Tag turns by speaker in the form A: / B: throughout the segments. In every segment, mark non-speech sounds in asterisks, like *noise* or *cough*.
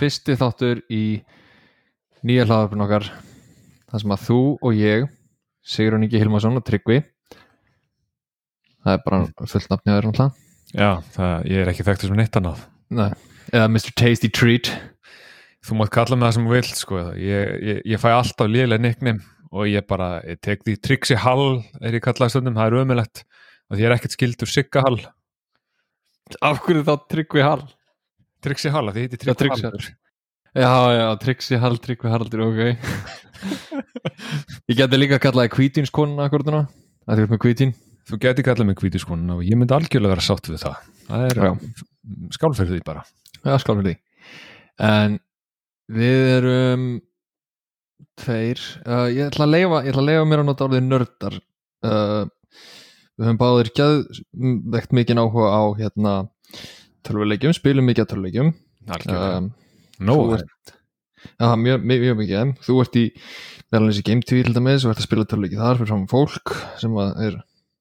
A: fyrsti þáttur í nýja hlaðarpun okkar þar sem að þú og ég Sigrun Ingi Hilmarsson og Tryggvi það er bara fullt nafni á þér náttúrulega
B: Já, það, ég er ekki þekktur sem neitt annað.
A: Nei. eða Mr. Tasty Treat
B: Þú mátt kalla mig það sem þú vilt, sko. Ég, ég, ég fæ alltaf lélega nicknum og ég bara, ég tek því Trixi Hall er ég kallað stundum, það er ömulegt og því ég er ekkert skildur Sigga Hall.
A: af hverju þá Tryggvi Hall?
B: Trixi Hall, af því ég heiti
A: Já,
B: Trixi
A: Trixi
B: Hall.
A: já, já, Tryggvi Hall, Tryggvi Haraldur, ok *laughs* ég geti líka kallaði kvítinskonuna akkur núna það er með kvítin
B: Þú geti kallað mig kvítiskonun og ég myndi algjörlega vera sátt við það. Það er mm,
A: Já.
B: skál fyrir því bara.
A: Já, skálum við því En við erum tveir uh, ég, ætla að leifa, ég ætla að leifa mér að nota orðið nördar uh, Við höfum báðir geðvegt mikið áhuga á hérna tölvuleikjum, spilum mikið að tölvuleikjum
B: Algjörlega.
A: um,
B: Nó,
A: þú ert- Já, mjög, mjög, mjög mikið en Þú ert í meðalinnis í Game TV til dæmis og ert að spila tölvuleiki þar fyrir fram fólk sem að er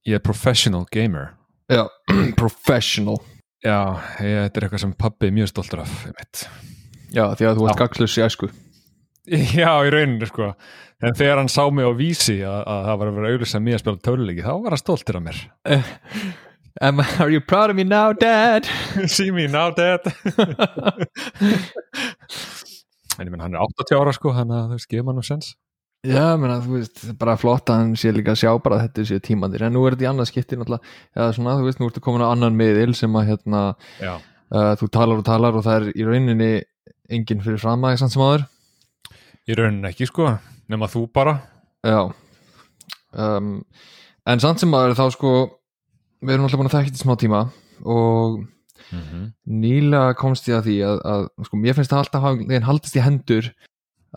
B: ég er professional gamer.
A: já, professional
B: Já, ég, þetta er eitthvað sem pabbi er mjög stoltur af, ég
A: Já, því að þú ert
B: Já.
A: gagslöss í æsku
B: *laughs* Já, í rauninni sko en þegar hann sá mig á vísi að, að það var að vera auðvitað mér að spila töluleiki þá var hann stoltir af *laughs* mér
A: Am, *laughs* Are you proud of me now, dad?
B: See me now dad *laughs* En ég menn hann er 80 ára sko hann að þau skema nú sens
A: Já, menna, þú veist, það er bara flott að hann sé líka að sjá bara að þetta séu tímandir en nú er þetta í annað skipti náttúrulega, eða svona, þú veist, nú ertu komin á annan miðil sem að hérna,
B: Já,
A: uh, þú talar og talar og það er í rauninni enginn fyrir fram aðeins hans maður
B: í rauninni ekki sko nema þú bara
A: Já um, en samt sem maður þá sko við erum alltaf búin að þekkja þetta í smá tíma og
B: Mhm.
A: nýlega komst ég að því að, að sko, mér finnst það alltaf hafa einhvern veginn haldist í hendur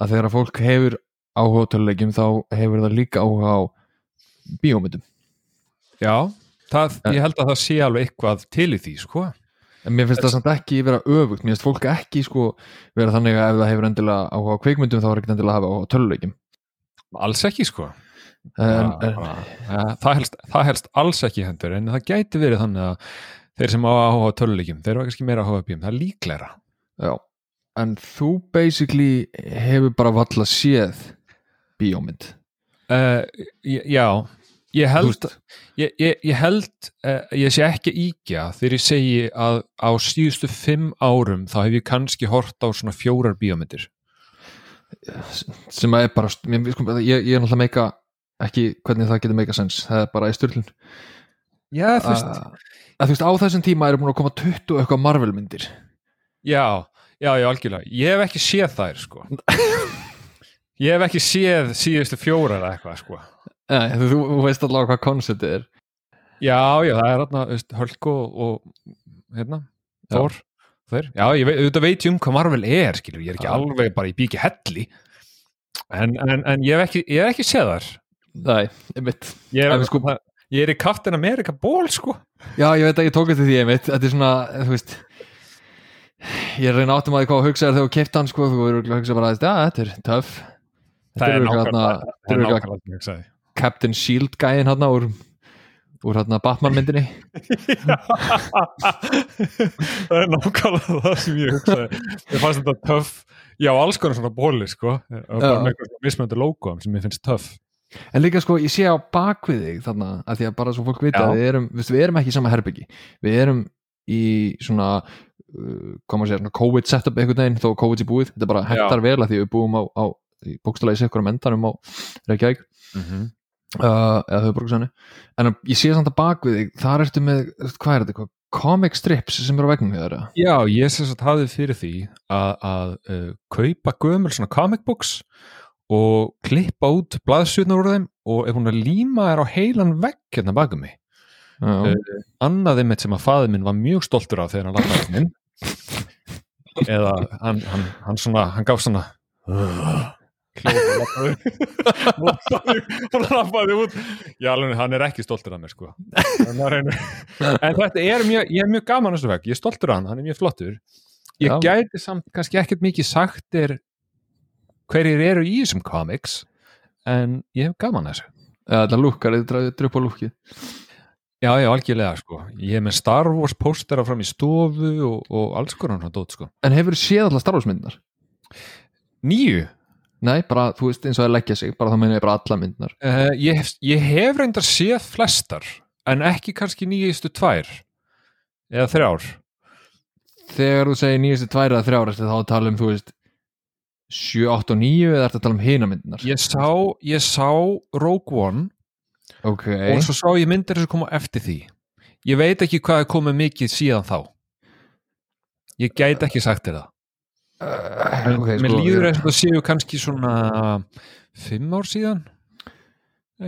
A: að þegar að fólk hefur áhuga á töluleikjum þá hefur það líka áhuga á bíómyndum
B: Já, það, ég held að það sé alveg eitthvað til í því sko
A: En mér finnst það samt ekki vera öfugt, mér finnst fólk ekki sko vera þannig að ef það hefur endilega áhuga á kveikmyndum þá er ekkert endilega að hafa áhuga á töluleikjum.
B: Alls ekki sko
A: En,
B: Já,
A: en,
B: bara- Já, það, helst, það helst alls ekki í hendur en það gæti verið þannig að þeir sem á að hóa töluleikjum, þeir eru kannski meira að hóa bíum, það er líklegra
A: já, en þú basically hefur bara valla séð bíómynd.
B: Uh, já, ég held
A: Þú
B: ég, ég, ég held uh, ég sé ekki að íkja þegar ég segi að á síðustu fimm árum þá hef ég kannski hort á svona fjórar bíómyndir
A: Sem að er bara, mér, sko, ég, ég er náttúrulega meika ekki hvernig það getur meika sens, það er bara í styrlun.
B: Já, þú
A: Að, að þú veist, á þessum tíma eru búin að koma 20 og eitthvað Marvel-myndir.
B: Já, já, já, algjörlega Ég hef ekki séð þær, *laughs* sko Ég hef ekki séð síðustu fjórar eða eitthvað, sko
A: Nei, þú, þú veist allavega hvað konceptið er.
B: Já, já, það er hérna, þú veist, Hölko og, og hérna,
A: Já.
B: Þór Þeir. Já, ég veit, auðvitað veit ég um hvað Marvel er, skilur, ég er ekki
A: Já.
B: alveg bara í bíki helli en, en, en ég hef ekki, ég hef ekki séð þar
A: Nei, einmitt.
B: Ég
A: En
B: er,
A: við sko-
B: það- ég er í Captain America ból sko
A: Já, ég veit að ég tók eftir því einmitt Þetta er svona, þú veist Ég er að reyna áttum að því hvað að hugsa þér þegar þú keipt hann sko, þú eru að hugsa bara að ja, þetta er töff Þetta
B: Það er
A: eru örugglega
B: nákvæmlega-
A: þarna- þetta eru örugglega
B: það sem ég sagði.
A: Captain Shield gæðin hann úr, úr hann Batman myndinni
B: *laughs* Það er nákvæmlega það sem ég hugsaði Ég fannst þetta töff Já, alls konar svona bóli sko og bara
A: Já.
B: með eitthvað mismöndu logo sem ég finnst töff
A: En líka sko, ég sé á bakvið þig þarna að því að bara svo fólk vita
B: Já.
A: að við erum, við, við erum ekki í sama herbyggi Við erum í svona uh, koma að segja, svona COVID setup einhvern veginn þó COVID sé búið, þetta bara hentar vel að því við búum á, á bókstælega í sikkur endanum á Reykjavík
B: Mhm.
A: uh, eða höfuborgsæðinu en að- ég sé samt að bak við þig þar ertu með, hvað er þetta, eitthvað, comic strips sem eru á vegnum hjá þeirra
B: Já, ég sem sagt hafði fyrir því að, að uh, kaupa gömul svona comic books og klippa út blaðsutnar úr þeim og er búin að líma þær á heilan vegg hérna bakum mig
A: já,
B: Eh. annaði mitt sem að faði minn var mjög stoltur af þegar hann lappaði minn eða hann, hann, hann svona hann gaf svona hljóð og lappaði hann *laughs* lappaði út já, alveg, hann er ekki stoltur af mér sko en, það er einu- en þetta er mjög ég er mjög gaman þessu veg, ég er stoltur af hann, hann er mjög flottur ég
A: Já.
B: gæti samt kannski ekkert mikið sagt er hverjir eru í þessum comics en ég hef gaman að þessu
A: eða þetta lúkkar, þetta er upp á lúkið
B: já, já, algjörlega sko. Ég er með Star Wars póstera fram í stofu og, og alls konar hann dót sko.
A: En hefur séð allar starfsmyndinar?
B: Nýju?
A: Nei, bara, þú veist, eins og það leggja sig, bara þá meina ég bara alla myndinar.
B: Uh, ég, hef- ég hef reyndar séð flestar en ekki kannski nýjistu tvær eða þrjár
A: Þegar þú segir nýjastu tvær eða þrjár, ertu þá að tala um, þú veist, 7, 8 og 9 eða ertu að tala um hina myndinar?
B: Ég sá, ég sá Rogue One
A: Ok,
B: og svo sá ég myndir sem koma eftir því Ég veit ekki hvað er komið mikið síðan þá Ég gæti ekki sagt þér það
A: uh,
B: En
A: ok, sko,
B: Mér
A: ég-
B: líður eins og það séu kannski svona fimm ár síðan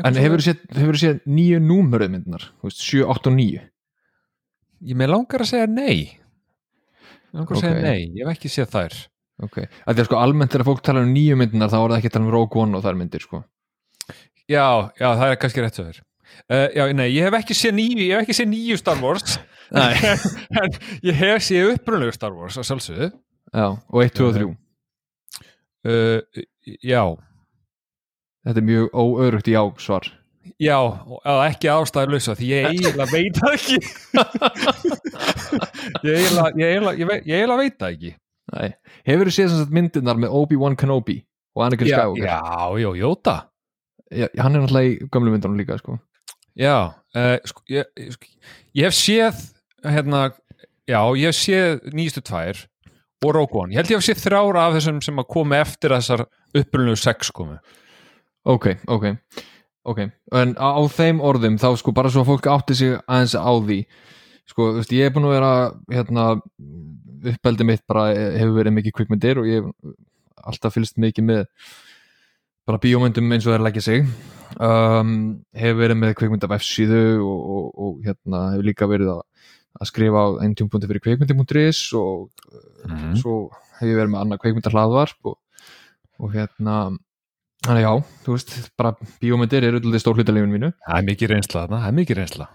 A: En hefur séð, hefur séð nýju númörðu myndinar, þú veist, 7, 8 og 9?
B: Ég með langar að segja nei Mig langar að
A: Ok.
B: segja nei, ég hef ekki séð þær
A: Ok, að því að sko almennt þegar fólk tala um nýju myndinar þá er það ekki að tala um Rogue One og þær myndir, sko.
B: Já, já, það er kannski rétt svo þér. Uh, já, nei, ég hef ekki séð nýju, ég hef ekki séð nýju Star Wars,
A: *laughs* Nei.
B: *laughs* en ég hef séð upprunlegu Star Wars, að sjálfsögðu.
A: Já, og 1, 2 og 3.
B: Uh, já,
A: Þetta er mjög óörugt í ásvar.
B: já, eða ekki ástæðurlausa, því ég eiginlega veit það
A: *laughs*
B: ekki. *laughs* ég eiginlega, ég eiginlega, ég, veit- ég eiginlega veit það ekki.
A: Nei. Hefur þú séð sem sagt myndirnar með Obi-Wan Kenobi og Anakin
B: Já,
A: Skywalker?
B: já, já, jóta.
A: Já, hann er náttúrulega í gömlu myndunum líka, sko.
B: Já, uh, sko, ég, ég- sko, ég hef séð, hérna, já, ég hef séð nýjustu tvær og Rogue One. Ég held ég hef séð þrára af þessum sem að koma eftir að þessar upprunlegu sex komu.
A: Ok, ok, ok. En á, á þeim orðum þá sko bara svo að fólk átti sig aðeins á því. Sko, þú veist, ég er búin að vera, hérna, uppeldið mitt bara eh, hefur verið mikið kvikmyndir og ég hef alltaf fylgst mikið með bara bíómyndum eins og það er leggja sig. Um, hefur verið með kvikmynd af F-síðu og, og, og hérna, hefur líka verið að, að skrifa á einn tjúmpundi fyrir kvikmyndi.is og
B: Mm.
A: svo hef ég verið með annað kveikmyndar hlaðvarp og, og hérna þannig já, þú veist, bara bíómyndir eru alltaf stór hlutalífinu mínu
B: Það er mikið reynsla þarna, það er mikið reynsla.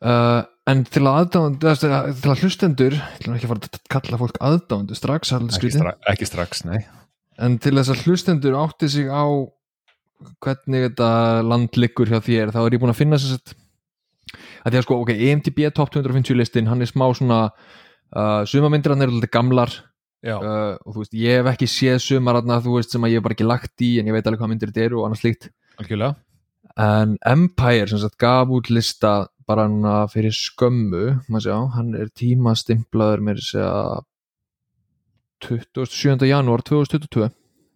A: uh, en til að aðdáðandi til að hlustendur, til að ekki fara að kalla fólk aðdáðandi strax, það er alveg
B: Ekki,
A: skrítið.
B: stra ekki strax, nei.
A: en til þess að hlustendur átti sig á hvernig þetta land liggur hjá þér, þá er ég búin að finna þess að því að sko, ok, EMTB top 250 listin, hann er smá svona uh, sumamyndir hann eru alltaf gamlar
B: Já,
A: uh, og þú veist, ég hef ekki séð sumararna þú veist, sem að ég hef bara ekki lagt í en ég veit alveg hvað myndir þetta eru og annars slíkt
B: Eh, algjörlega.
A: en Empire sem sagt gaf út lista bara núna fyrir skömmu maður sjá, hann er tímastimplaður mér segja 27. janúar 2022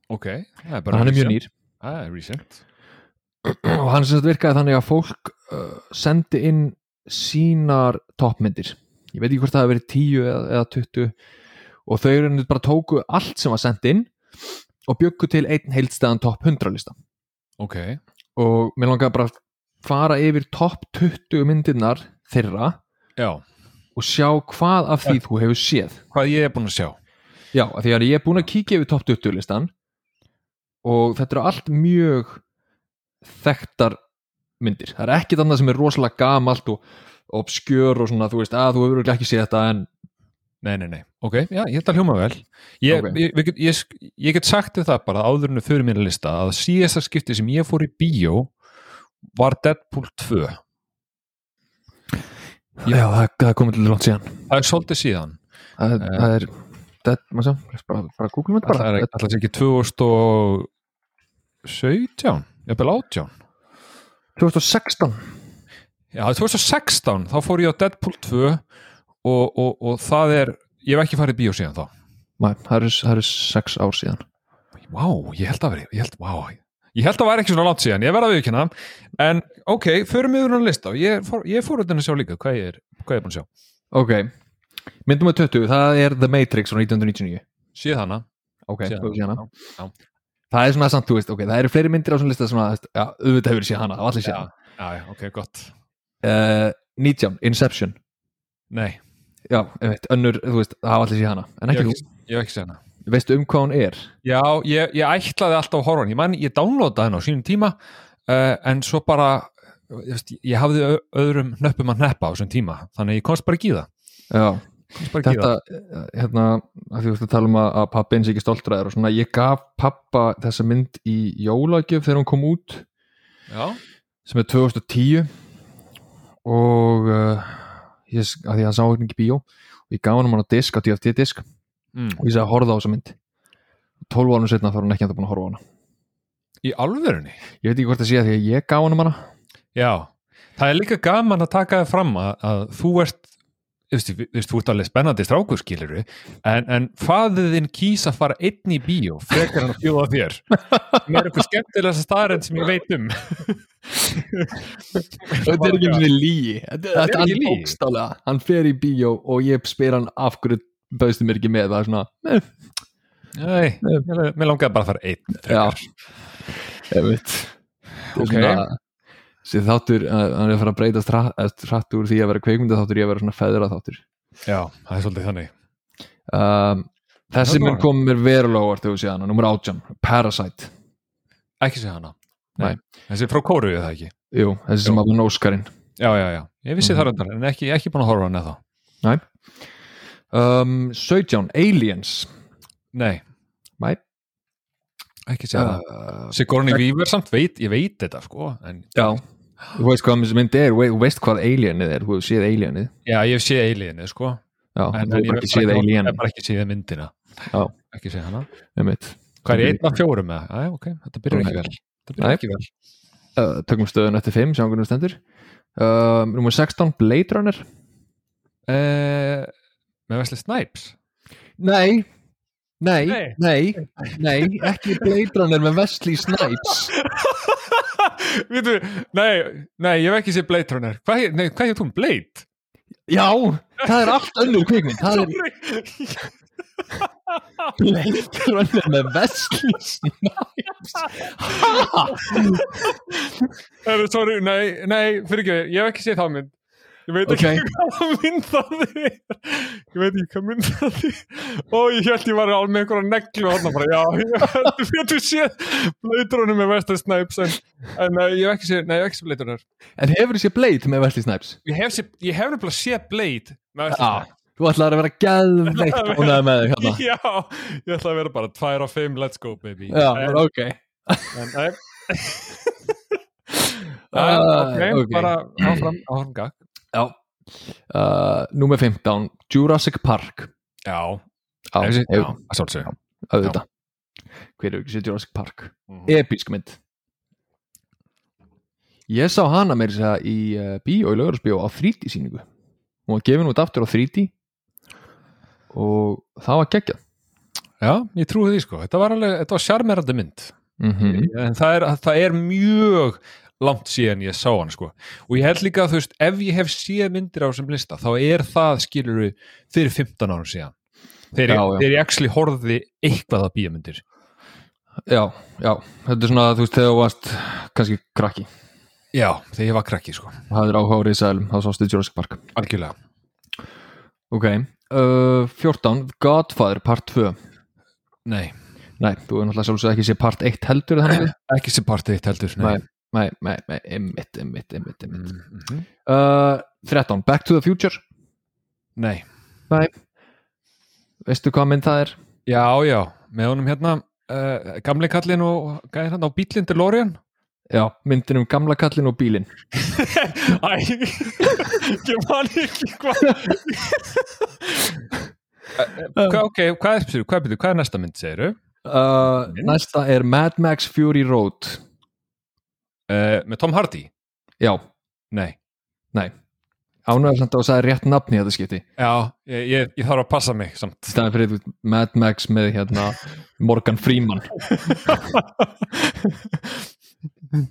B: Ok, það er bara
A: hann er mjög nýr
B: Það er recent.
A: og hann sem sagt virkaði þannig að fólk uh, sendi inn sínar toppmyndir ég veit ekki hvort það hefur verið 10 eða, eða 20 og þau eru bara tóku allt sem var sendt inn og bjöggu til einn heildstæðan topp 100 lista
B: Ok,
A: og mér langaði bara að fara yfir topp 20 myndirnar þeirra
B: já.
A: og sjá hvað af því þú hefur séð
B: Hvað ég er búin að sjá?
A: já, af því að ég er búin að kíkja yfir topp 20 listan og þetta eru allt mjög þekktar myndir, það er ekkit annað sem er rosalega gamalt og og obskjör og svona, þú veist, að þú hefur örugglega ekki séð þetta en
B: Nei, nei, nei. Ok, já, ég held að hljóma vel. Ég,
A: Ok.
B: ég, ég, ég, sk- ég get sagt þér það bara áður en þau eru mínu lista að síðasta skipti sem ég fór í bíó var Deadpool 2.
A: já, það, það er komið til langt síðan
B: Það er svolítið síðan.
A: það, er-
B: Eh.
A: það er, það, maður sá, bara, bara googlum þetta
B: Það
A: bara
B: er alltaf ekki 2017, jafnvel 18.
A: 2016
B: Já, 2016, þá fór ég á Deadpool 2 og, og, og það er, ég hef ekki farið í bíó síðan þá.
A: Nei, það eru það eru sex ár síðan
B: Vá, ég held að veri, ég held, vá, ég held að væri ekki svona langt síðan, ég verða að viðkynna. En ok, förum við um lista og ég fór, ég fór út að sjá líka hvað ég er, hvað ég er búin að sjá.
A: ok, myndum við 20, það er The Matrix frá 1999
B: Síð hana.
A: ok,
B: Séð
A: þú hefur séð hana
B: Já.
A: það er svona samt, þú veist, ok, það eru fleiri myndir á svona lista sem að, þú veist, já, auðvitað hefur séð hana, það var allir séð
B: Já,
A: hana
B: já, já, ok, gott.
A: uh, 19, Inception
B: Nei,
A: já, einmitt, önnur, þú veist, það var allir séð hana en
B: ég
A: ekki
B: hef ekki, ég hef ekki séð hana.
A: þú, veistu um hvað hún er
B: Já, ég, ég ætlaði alltaf að horfa á hann, ég man, ég downloadaði hann á sínum tíma, uh, en svo bara, ég, veist, ég hafði ö- öðrum nöppum að neppa á þessum tíma, þannig að ég komst bara ekki í það.
A: já,
B: Komst bara ekki í
A: þetta, eh, hérna að því þú veist að tala um að, að pappin sé ekki stoltræður og svona, ég gaf pappa þessa mynd í jólagjöf þegar hún kom út
B: það. Já.
A: sem er 2010 og uh, ég, að því að hann sá ekki í bíó og ég gaf hann hann að disk á DFT disk
B: mm.
A: og ég sagði að horfa á þessa mynd 12 árum setna þá er hann ekki að búin að horfa á hana
B: í alvörunni
A: ég veit ekki hvort það sé að því að ég gaf hann hana
B: Já, það er líka gaman að taka það fram að, að þú ert þú veist, þú veist, þú ert alveg spennandi strákur skiluru en, en faðið þinn kýs að fara einn í bíó frekar hann að bjóða þér sem er eitthvað skemmtilegast staðarinn sem ég veit um
A: þetta er ekki eins og líi þetta
B: er
A: er
B: ekki
A: ekki
B: lygi.
A: líi hann fer í bíó og ég spyr hann af hverju bauðstu mér ekki með það er svona, eh,
B: Nei, mér mér langaði bara að fara einn frekar.
A: Ég *laughs* veit
B: Ok.
A: Sér þáttur, uh, hann er að fara að breytast hra- eða hratt úr því að vera kveikmynda þáttur í að vera svona feðra þáttur
B: Já, það er svolítið þannig
A: um, Þessi
B: Það er
A: mynd
B: bara-
A: kom mér verulega á óvart þegar séðan, nummer átján, Parasite
B: Ekki sé hana
A: Nei.
B: Þessi er frá kóru ég það ekki
A: Jú, þessi sem
B: Jú.
A: að var Óskarinn
B: Já, já, já, ég vissi
A: Mhm.
B: mm. það röndar en ekki, ekki búin að horfa á hana þá
A: um, 17, Aliens
B: Nei Ah.
A: Nei.
B: Ekki sé hana
A: uh,
B: Sigourney Weaver samt veit, ég veit þetta sko en
A: Já Þú veist hvað þessi mynd er, þú veist hvað Alienið er, þú hefur séð Alienið
B: Já, ég hef séð Alienið, sko
A: Já, þú
B: en,
A: hefur
B: ég
A: bara
B: hef
A: ekki séð
B: Ég
A: Alien
B: hef bara ekki séð myndina
A: Já.
B: Ekki séð hana
A: einmitt.
B: Hvað er ég, einn af fjórum með það? Æ, ok, þetta byrjar
A: Nei.
B: ekki vel Þetta byrjar
A: Nei.
B: ekki vel
A: uh, Tökum stöðun eftir 5, sjáum hvernig það stendur um, Númer 16, Blade Runner
B: uh, Með Wesley Snipes
A: Nei Nei,
B: Nei.
A: nei, nei, ekki Blade Runner með Wesley Snipes
B: Vitu, nei, nei, ég hef ekki séð Blade Runner Hvað, hét- nei, hvað hefði hún, Blade?
A: Já, það er allt önnur kvikmynd Það er Blade Runner með Wesley Snipes
B: Er, sorry, nei, nei, fyrir ekki, ég hef ekki séð það mynd Ég veit ekki *laughs*
A: Ok.
B: hvað mynd það er Ég veit ekki hvað mynd það er Ó, ég held ég var alveg með einhverja neglu og bara, já, ég held ég betur séð Blöðdrónum með Vestar Snipes en, en nei, ég hef ekki séð, nei, ég hef ekki séð Blöðdrónar
A: En hefur þessi Blade með Wesley Snipes?
B: Ég hef, séð, ég hef nefnilega séð Blade með Vestar
A: Já, þú ætlar að vera gæðveikt ánægð með þig
B: *laughs*
A: hérna
B: Snipes Já, ég ætla að vera bara tvær á fimm, let's go baby
A: Já,
B: en,
A: ok
B: en,
A: *laughs*
B: *laughs* nei
A: Ah,
B: En, ok,
A: ok.
B: bara áfram, áfram gag
A: Já uh, Númer 15, Jurassic Park
B: Já,
A: Já,
B: Ef þessi-
A: hef-
B: að sjálfsögðu.
A: auðvitað Hver hefur ekki séð Jurassic Park?
B: Mhm.
A: Episk mynd Ég sá hana meir þess að segja í uh, bíó, í laugurhúsbíó á 3D síningu Hún var gefin út aftur á 3D og það var geggjað
B: Já, ég trúi því sko. Þetta var alveg, þetta var sjarmerandi mynd.
A: mm
B: En það er, það er mjög langt síðan ég sá hann sko. Og ég held líka að þú veist, ef ég hef síðan myndir á þessum lista, þá er það skilur við fyrir 15 árum síðan. Þegar ég,
A: Já, já.
B: þegar ég actually horfði eitthvað að bíamyndir.
A: Já, já, þetta er svona þú veist þegar þú varst kannski krakki
B: Já, þegar ég var krakki sko.
A: og hafðir áhuga á risaðilum, þá sástu Jurassic Park
B: Algjörlega.
A: Ok, uh, 14 Godfather part 2
B: Nei,
A: Nei, þú er náttúrulega sjálfsög ekki sé part 1 heldur er það þannig
B: ekki sem partið eitt heldur.
A: Nei. Nei, nei, nei, einmitt, einmitt, einmitt, einmitt.
B: Mm -hmm.
A: Uh, 13, Back to the Future
B: Nei.
A: veistu hvað mynd það er?
B: Já, já, með honum hérna, uh, gamli kallin og gæði hann á bílinn DeLorean.
A: Já, myndin um gamla kallin og bílin
B: *laughs* Æ, ég man ekki hvað
A: Um,
B: Hva, Ok, hvað er, hvað, hvað, hvað er næsta mynd, segiru?
A: uh,
B: Mynd?
A: Næsta er Mad Max Fury Road
B: Uh, með Tom Hardy?
A: Já,
B: Nei
A: ánægður samt að það er rétt nafn í þetta skipti
B: Já, ég, ég, ég þarf að passa mig samt
A: Stæðan fyrir þú veist, Mad Max með hérna Morgan *laughs* Freeman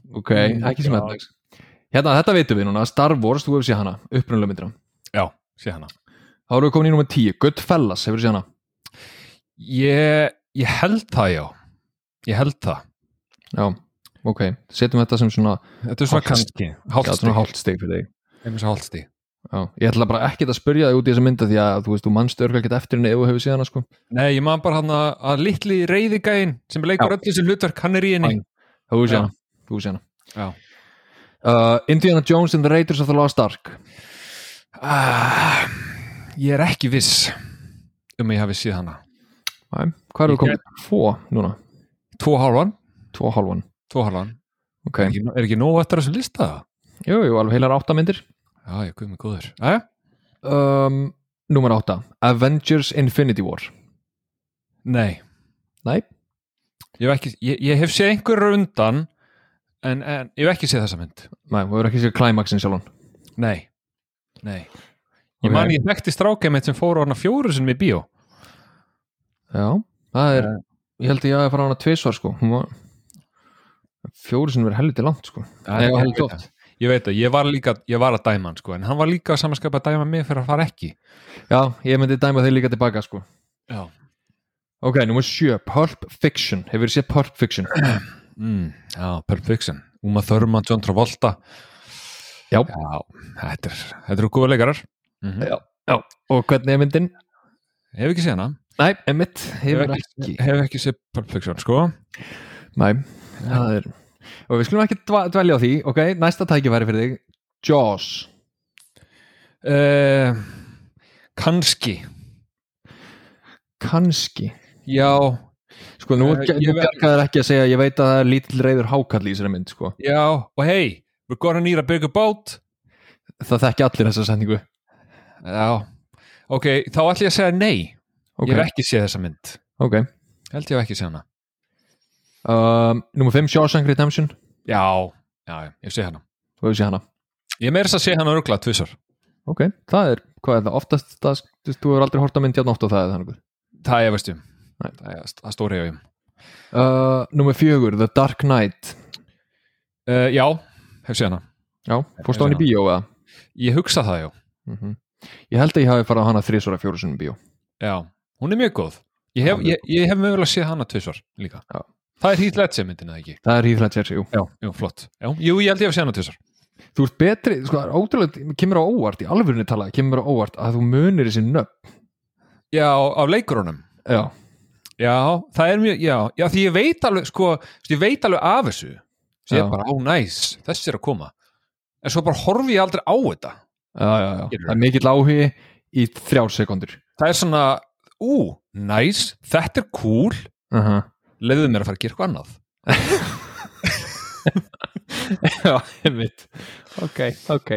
A: Ok, ekki sem Mad Max Hérna, þetta veitum við núna, Star Wars, þú hefur séð hana upprunalega myndina
B: Já, sé hana
A: Þá erum við komin í nummer 10, Goodfellas, hefur séð hana
B: Ég, ég held það, já Ég held það
A: Já, ok, setjum þetta sem svona
B: Þetta er svona
A: Hálft stig.
B: kannski
A: Já, svona
B: Hálfstig
A: hálft stig fyrir þig
B: Einmitt svo hálfstig
A: Já, ég ætla bara ekkert að spyrja þig út í þessa mynda því að þú veist, þú mannst örglega ekkert eftir henni ef þú hefur séð hana sko
B: Nei, ég man bara hann að, að litli reyðigæin sem leikur
A: Já.
B: öll þessi hlutverk, hann er í henni
A: Hann. Þú
B: Já.
A: sé hana, þú sé hana
B: Já.
A: Uh, Indiana Jones and the Raiders of the Lost Ark
B: ah, Ég er ekki viss um að ég hafi séð hana
A: Æ, Hvað eru
B: Ég
A: komið? Tvo núna,
B: Tvo hálfan
A: tvo og hálfan
B: Tvo hálfan
A: okay.
B: Er ekki nóg eftir þessu lista?
A: Jú, jú, alveg heilar áttamindir
B: já, ég guð mig góður Jæja.
A: um, Númer 8 Avengers Infinity War
B: nei,
A: Nei,
B: ég hef, ekki, ég, ég hef séð einhverjur undan en, en ég hef ekki séð þessa mynd
A: nei, við erum ekki sér klimaxin sjálfan
B: nei, nei ég man ég þekkti strákja mitt sem fór á hana fjóru sinni í bíó
A: Já, það er
B: Eh.
A: Ég held að ég hafi farið á hana tvisvar sko Hún var Fjóri sinni verið helviti langt sko
B: Já,
A: Nei,
B: ég
A: helviti
B: veit
A: oft.
B: það. ég veit að ég var líka ég var að dæma hann sko, en hann var líka að samanskapa að dæma mig fyrir að fara ekki
A: Já, ég myndi dæma þeir líka tilbaka sko
B: já
A: Ok, númer 7 Pulp Fiction Hefur þið séð Pulp Fiction?
B: Mm, já, Pulp Fiction Uma Thurman, John Travolta
A: Já. Mhm.
B: Já, þetta er- þetta eru góða leikarar mm
A: Já. Já, og hvernig er myndin?
B: Hef ekki séð hana
A: Nei, emitt, hefur
B: Hefur
A: ekki
B: Hef ekki séð Pulp Fiction, sko
A: Nei, það er Og við skulum ekki dva- dvelja á því, ok, næsta tækifæri fyrir þig Jaws
B: uh, Kanski
A: Kanski
B: Já,
A: Sko, nú
B: Eh, ég veit-
A: gerðar ekki að segja Ég veit að það er lítill reyður hákall í þessari mynd sko.
B: já, og hey We're gonna need a bigger boat
A: Það þekki allir þessa sendingu
B: Já, ok, þá ætlum ég að segja nei
A: Ok,
B: Ég hef ekki séð þessa mynd
A: ok
B: Held ég hef ekki séð hana
A: um, Númer 5, Shawshank Redemption
B: Já, já, já, ég sé hana
A: Þú hefur séð hana
B: Ég meira þess að sé hana örgla tvisar
A: Ok, það er, hvað er það, oftast það, þú veist, þú hefur aldrei horta myndi að nátt og það er þannig
B: Það ég veist um
A: Nei.
B: Það er að stóri ég um
A: uh, Númer 4, The Dark Knight
B: Uh, já, hef séð hana.
A: Já, fórst á hann í bíó eða?
B: Ég hugsa það, já.
A: Mm Ég held að ég hafi farið á hana þrísvara fjóru sinni í bíó
B: Já, hún er mjög góð. Ég hef,
A: Já, mjög
B: ég, ég hef mögulega séð hana tvisvar líka.
A: Já.
B: Það er hýtt lett sem myndin, eða ekki?
A: Það er hýðlega tjersi, jú
B: Já. Jú, flott. Já, jú, ég held ég hef séð hana tvisvar.
A: Þú ert betri, sko, það er ótrúlega, kemur á óvart í alvörunni talað, kemur á óvart að þú munir þessi nöpp
B: Já, af leikurunum.
A: Já,
B: Já, það er mjög, já, já, því ég veit alveg, sko, ég veit alveg af þessu. Svo ég
A: Já.
B: er bara, ó, næs, þessi er að koma. En svo bara horfi ég aldrei á þetta.
A: já, já, já.
B: Skilurðu?
A: það er mikill áhugi í þrjár sekundur
B: Það er svona, ú, næs, þetta er cool,
A: uh -huh.
B: leiðu mér að fara að gera eitthvað annað.
A: *laughs* Já, einmitt Ok, ok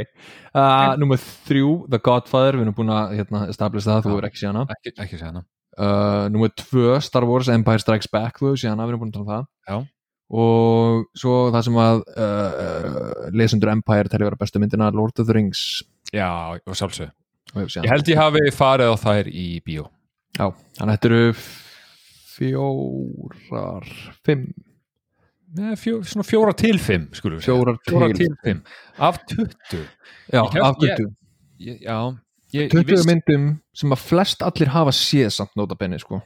A: uh, Númer þrjú, The Godfather, við erum búin að hérna, establista það, þú
B: Já.
A: hefur ekki séð hana
B: Ekki, ekki segja hana.
A: uh, Númer tvö, Star Wars Empire Strikes Back, þú hefur séð hana, við erum búin að tala um það
B: Já.
A: Og svo það sem að uh, lesendur Empire telja vera bestu myndina Lord of the Rings
B: Já, og sjálfsög.
A: og hefur séð
B: Ég
A: hana.
B: held ég hafi farið á þær í bíó.
A: Já, þannig að þetta eru fjórar, fimm
B: Nei, fjó, svona fjóra til fimm skulum við segja.
A: Fjórar
B: fjóra
A: til.
B: til, fimm af tuttu
A: Já,
B: Ég hef-
A: af
B: ég-
A: 20
B: já, ég, ég
A: 20
B: vissi-
A: myndum sem að flest allir hafa séð samt nota benni sko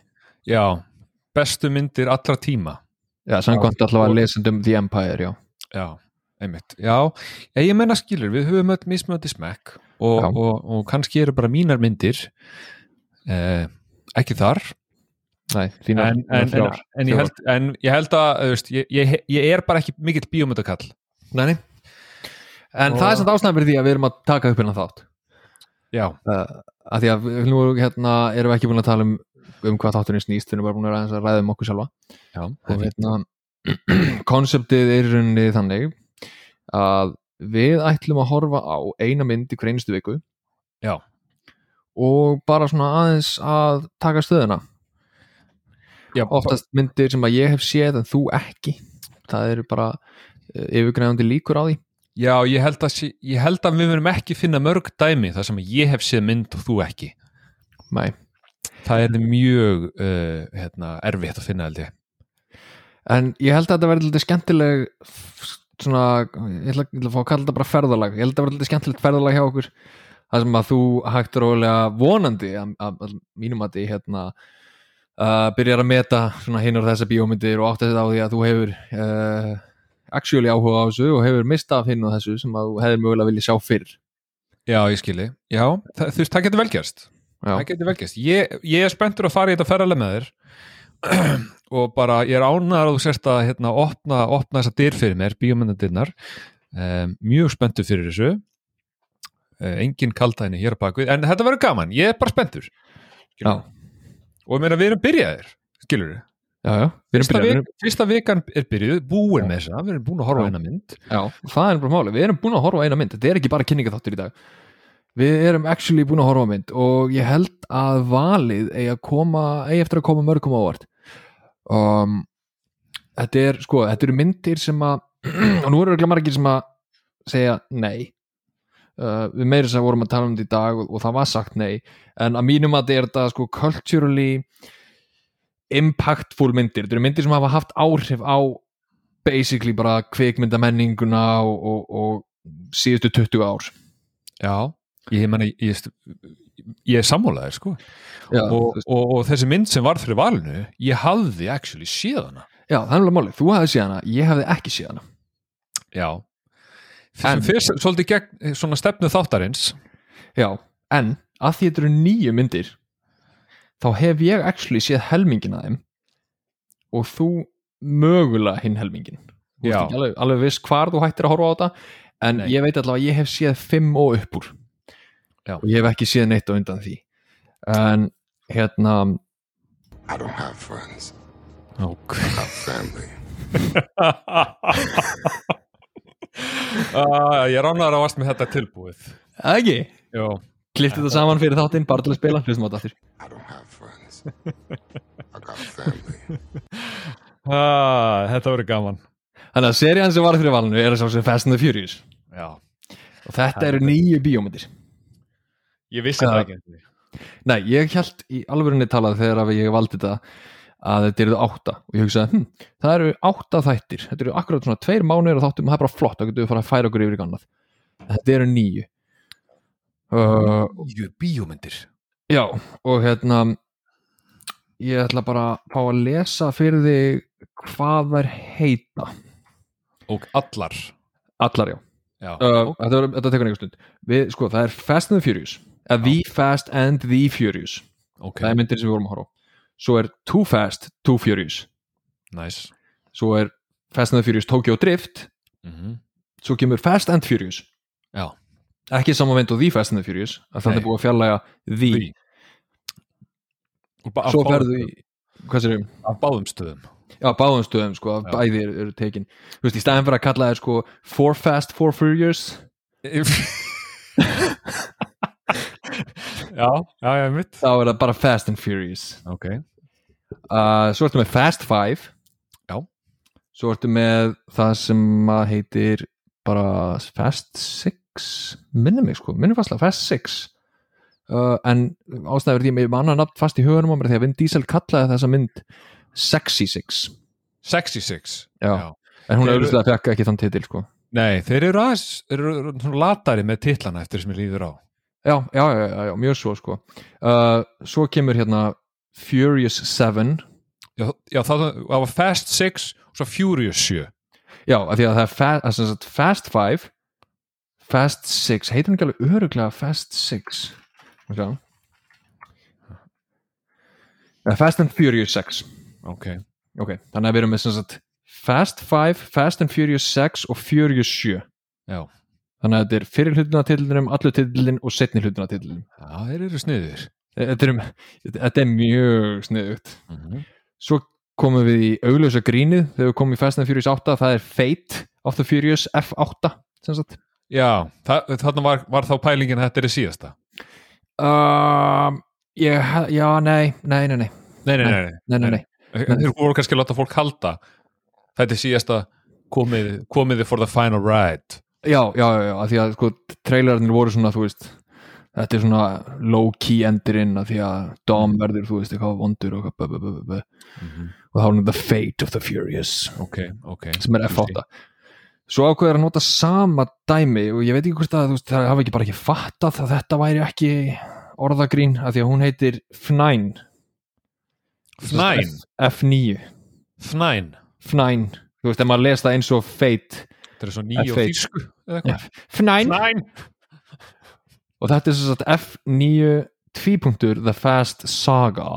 B: já, bestu myndir allra tíma
A: Já, samkvæmt allavega lesendum The Empire, já
B: já, einmitt já, ég, ég menna skilur, við höfum öll mismöndi smekk og,
A: Já.
B: og, og, kannski eru bara mínar myndir eh, ekki þar
A: Nei, þínar
B: en, en, en,
A: þrjár.
B: en, ég, held, en ég held að þú veist, ég, ég, ég er bara ekki mikill bíómyndakall
A: Nei, nei En
B: Og-
A: það er samt ástæðan fyrir því að við erum að taka upp hérna þátt
B: já,
A: uh, að því að við- nú hérna, erum við ekki búin að tala um, um hvað þátturinn snýst við erum bara búin að ræða, ræða um okkur sjálfa
B: já
A: og hérna *clears throat* konseptið er í rauninni þannig að við ætlum að horfa á eina mynd í hverjum einstu viku
B: Já.
A: og bara svona aðeins að taka stöðuna
B: já,
A: oftast myndir sem að ég hef séð en þú ekki það eru bara uh, yfirgræðandi líkur á því
B: Já, ég held, að, sé- ég held að við verum ekki finna mörg dæmi þar sem ég hef séð mynd og þú ekki.
A: Nei.
B: Það er mjög uh, hérna, erfitt að finna held ég.
A: en ég held að þetta verði litið skemmtileg f- svona, ég ætla, ég ætla að fá að kalla þetta bara ferðalag ég held að þetta verði litið skemmtilegt ferðalag hjá okkur það sem að þú hægt rólega vonandi að, að, að mínum að þið hérna uh, byrjar að meta svona hinn og þessa bíómyndir og átt að þetta á því að þú hefur uh, actually áhuga á þessu og hefur mistað af hinn og þessu sem að þú hefur mögulega viljað sjá fyrr
B: Já, ég skilji. Já, það, þú veist, það getur velgerst.
A: Já.
B: Það getur velgerst. Ég, ég er spenntur að fara í þetta ferðarlega með þér *clears throat* og bara ég er ánæður að þú sérst að hérna, opna, opna þessa dyr fyrir mér, bíómyndadirnar. Um, mjög spenntur fyrir þessu. Uh, engin kaldæni hér að baku. En þetta verður gaman. Ég er bara spenntur.
A: Já.
B: Og ég meina, við erum byrjaðir, skilur við.
A: já, já, við erum
B: Fyrsta,
A: byrjað við erum,
B: vik, fyrsta vikan er byrjuð, búin
A: Já.
B: með þess að við erum búin að horfa
A: Já.
B: á eina mynd
A: já, það er bara máli, við erum búin að horfa á eina mynd þetta er ekki bara kynningaþáttur í dag við erum actually búin að horfa á mynd og ég held að valið eigi, að koma, eigi eftir að koma mörgum á óvart um, þetta er sko, þetta eru myndir sem að *clears throat* og nú eru ekki margir sem að segja nei uh, við meira sem vorum að tala um þetta í dag og, og það var sagt nei en að mínum að þetta er þetta sko culturally impactful myndir þetta eru myndir sem hafa haft áhrif á basically bara kvikmyndamenninguna og, og, og síðustu 20 ár
B: já, ég meina ég, ég, ég er sammálaðir sko
A: Já,
B: og, og, og þessi mynd sem var fyrir valinu ég hafði actually séð hana
A: já það er alveg málið, þú hafði séð hana, ég hafði ekki séð hana
B: já
A: En-
B: en fyrst svolítið gegn eh, svona stefnu þáttarins
A: já, en að því þetta eru nýju myndir þá hef ég actually séð helmingin að þeim og þú mögulega hinn helmingin Þú
B: Já.
A: ert ekki alveg, alveg viss hvar þú hættir að horfa á þetta en
B: Nei.
A: ég veit allavega að ég hef séð fimm og upp úr
B: Já.
A: og ég hef ekki séð neitt á undan því en hérna
C: I don't have friends.
B: ok *laughs*
C: I have family.
B: uh, ég ránaður að vast með þetta tilbúið
A: ekki,
B: já,
A: klippti þetta saman fyrir þáttinn bara til að spila, hlustum á þetta aftur
C: I don't have friends. I got family.
B: ah, þetta verður gaman
A: þannig að serían sem var fyrir valinu er þess að sem Fast and the Furious
B: já,
A: og þetta eru nýju bíómyndir
B: ég vissi
A: Já.
B: það ekki
A: Nei, ég held í alvörunni talað þegar að ég valdi þetta að þetta eru átta og ég hugsaði, hm, það eru átta þættir þetta eru akkurat svona tveir mánuðir og þáttum það er bara flott, þá getum við fara að færa okkur yfir í annað En þetta eru nýju uh,
B: Nýju bíómyndir
A: Já, og hérna ég ætla bara að fá að lesa fyrir þig hvað þær heita
B: og allar
A: Allar, já
B: já,
A: uh, þetta, var, þetta tekur einhver stund við, sko, Það er Fast and the Furious uh, The Fast and the Furious
B: ok,
A: það er myndir sem við vorum að horfa á svo er Too Fast, Too Furious
B: nice
A: svo er Fast and the Furious Tokyo Drift
B: mm
A: svo kemur Fast and Furious
B: Já.
A: ekki saman mynd og The Fast and the Furious að það
B: Nei.
A: er búið að fjarlæga The,
B: Því. Og ba- af
A: svo
B: báðum
A: ferðu í hvað sér
B: stöðum- af báðum *laughs* stöðum
A: já, báðum stöðum sko, að
B: Já.
A: bæði eru, eru tekin þú veist, í staðin fyrir að kalla það sko Four Fast, Four Furious
B: já, já, já, mitt
A: þá er það bara Fast and Furious
B: ok,
A: uh, svo ertu með Fast Five
B: Já.
A: svo ertu með það sem að heitir bara Fast Six minnum mig sko, minnum fastlega Fast Six uh, en ástæður því að mér manna nafn fast í hugunum á mér því að Vin Diesel kallaði þessa mynd Sexy Six
B: sexy six
A: Já. en hún
B: Þeir eru-
A: auðvitað fekk ekki þann titil sko
B: nei, þeir eru aðeins þeir eru svona latari með titlana eftir sem ég líður á
A: já, já, já, já, já mjög svo sko uh, svo kemur hérna Furious 7
B: já, já það, það var fast six og svo furious sjö
A: Já, af því að það er fa að sem sagt Fast Five Fast Six, heitir hún ekki alveg öruglega Fast Six okay. Fast and Furious 6
B: ok,
A: Ok, þannig að við erum með sem sagt Fast Five, Fast and Furious 6 og Furious 7
B: já,
A: Þannig að þetta er fyrir hlutina titlinum, allur titlin og setni hlutina titlinum
B: já þeir eru sniður
A: Þetta er, þetta er mjög sniðugt
B: mm
A: Svo komum við í auglösa grínið þegar við komum í Fast and Furious 8 það er Fate of the Furious F8 sem sagt
B: já, það, þarna var, var þá pælingin að þetta er í síðasta
A: um, ég, he- já, nei, nei, nei, nei,
B: nei, nei, nei, nei.
A: nei, nei, nei.
B: þeir voru kannski að láta fólk halda þetta er síðasta komið, komiði for the final ride
A: Já, já, já, já, af því að sko, trailerarnir voru svona, þú veist þetta er svona low-key endurinn af því að Dom verður, þú veist, eitthvað vondur og, eitthvað, bæ, bæ, bæ, bæ, bæ. og þá er hún The Fate of the Furious
B: ok, ok
A: sem er F8 Svo ákveður að nota sama dæmi og ég veit ekki hvort að þú veist, það hafi ekki bara ekki fattað að þetta væri ekki orðagrín af því að hún heitir F9
B: Fnæn,
A: F9
B: fnæn
A: F9, þú veist, ef maður les það eins og Fate
B: þetta er svo nýju og
A: F8.
B: þýsku eða
A: Já.
B: eitthvað.
A: F9
B: fnæn,
A: og þetta er sem sagt F9 tvípunktur The Fast Saga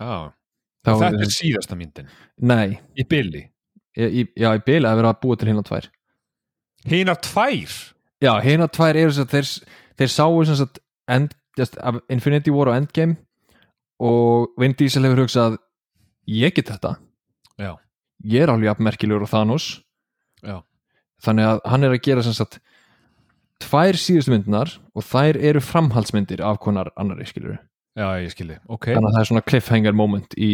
B: já,
A: Þá
B: þetta er síðasta myndin
A: nei,
B: í billi,
A: ég, ég, já, ég bila að vera að búa til hérna tvær
B: hinar tvær
A: já, hérna tvær eru sem sagt þeir, þeir sáu sem sagt end, just, af Infinity War og Endgame og Vin Diesel hefur hugsað ég get þetta
B: Já.
A: ég er alveg apmerkilegur og Thanos
B: Já.
A: þannig að hann er að gera sem sagt tvær síðustu myndunar og þær eru framhaldsmyndir af konar annari skilur
B: já, ég skilji, ok
A: þannig að það er svona cliffhanger moment í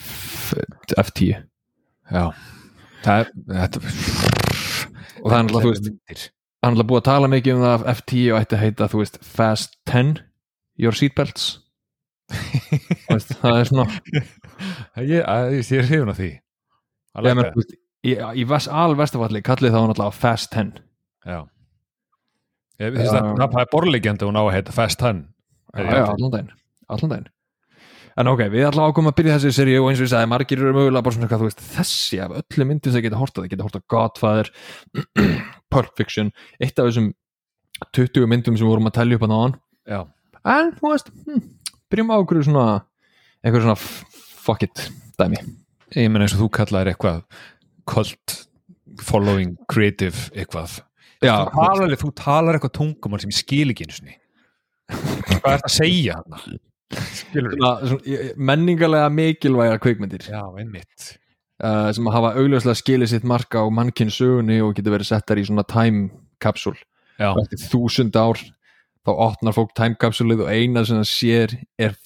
A: f- F10
B: já, það er þetta,
A: og það er náttúrulega, þú veist,
B: veist
A: það er náttúrulega búið að tala mikið um það að F10 og ætti að heita, þú veist, Fast 10 Your
B: *laughs*
A: Seatbelts Þú veist, það er svona
B: ég, að- ég, ég er hrifun af því I
A: ég,
B: like
A: menn,
B: that.
A: þú veist, í, í vest, alvestafalli kallið þá náttúrulega Fast 10
B: já ég, þess,
A: Já.
B: að, það er borlegjandi hún á að heita Fast Hann
A: Já, já, allan daginn, allan daginn En ok, við ætlum ákomum að byrja þessi seríu og eins og ég sagði, margir eru mögulega bara svona hvað þú veist þessi af öllum myndum sem geta horta það geta horta Godfather, *clears throat* Pulp Fiction eitt af þessum 20 myndum sem við vorum að telja upp að náðan
B: já,
A: en þú veist, hm, byrjum á okkur svona, einhver svona f- fuck it dæmi
B: ég meina eins og þú kallar eitthvað cult following creative eitthvað
A: Já,
B: þú, talar, þú talar eitthvað tungum sem ég skil ekki einu sinni hvað er það að segja hann skilur
A: svona, svona, í- í- menningarlega mikilvægar kvikmyndir
B: já, einmitt
A: uh, sem hafa augljóslega skilið sitt marka á mannkinn sögunni og getur verið settar í svona time capsule
B: já,
A: og eftir þúsund ár þá opnar fólk time capsule og eina sem það sér er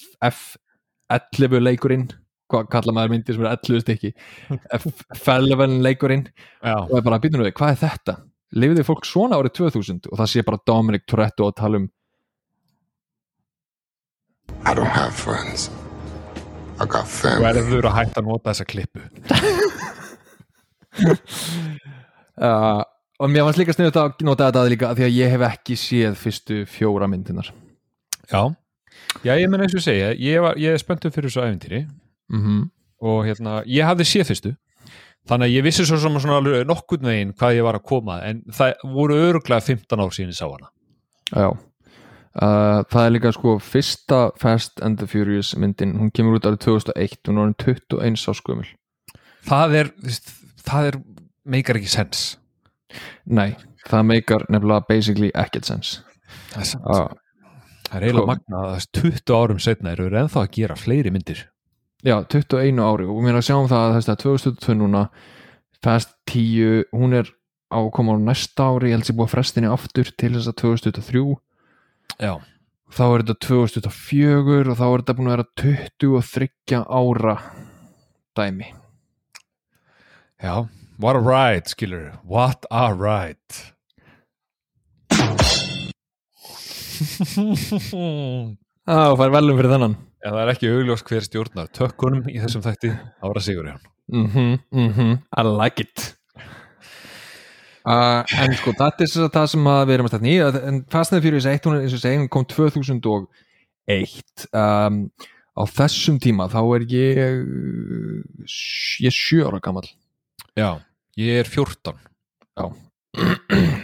A: F11 leikurinn hvað kalla maður myndir sem er 11 stykki F11 leikurinn
B: já,
A: og er bara að býta nú við, hvað er þetta? Lifiði fólk svona árið 2000 og það sé bara Dominic Toretto að tala um
C: I don't have friends. I got family.
B: verður að hætta að nota þessa klippu
A: uh, og mér fannst líka sniðut að nota þetta að líka af því að ég hef ekki séð fyrstu fjóra myndinar
B: já, já ég meina eins og ég segja ég, var, ég er spenntur fyrir þessu æfintýri
A: mm -hmm.
B: og hérna, ég hafði séð fyrstu þannig að ég vissi svo sem svona alveg nokkurn veginn hvað ég var að koma að, en það voru öruglega 15 ár síðan ég sá hana
A: Já uh, Það er líka sko fyrsta Fast and the Furious myndin hún kemur út árið 2001 hún er orðin 21 áskumul
B: það er, þú veist, það er meikar ekki sens
A: Nei, það meikar nefnilega basically ekkert sens
B: það er, samt-
A: uh,
B: það er eiginlega
A: Sko.
B: magnað að þess 20 árum setna eru þeir ennþá að gera fleiri myndir
A: Já, 21 ári og mér er að sjá um það að þess að 2022 núna Fast 10, hún er á að koma á næsta ári, ég held sér búið að frestinni aftur til þess að 2023
B: já,
A: þá er þetta 2024 og þá er þetta búin að vera 23 ára dæmi
B: já, what a ride skilur, what a *laughs* ride Já,
A: Já, fær velum fyrir þennan
B: það er ekki augljós hver stjórnar tökkunum í þessum þætti Ára Sigurjón
A: mhm, mhm, I like it uh, en sko þetta er sem sagt það sem að við erum að stætni en Fast and the Furious 1 hún er eins og segja hún kom 2001 um, á þessum tíma þá er ég uh, sj- ég er sjö ára gamall
B: Já, ég er 14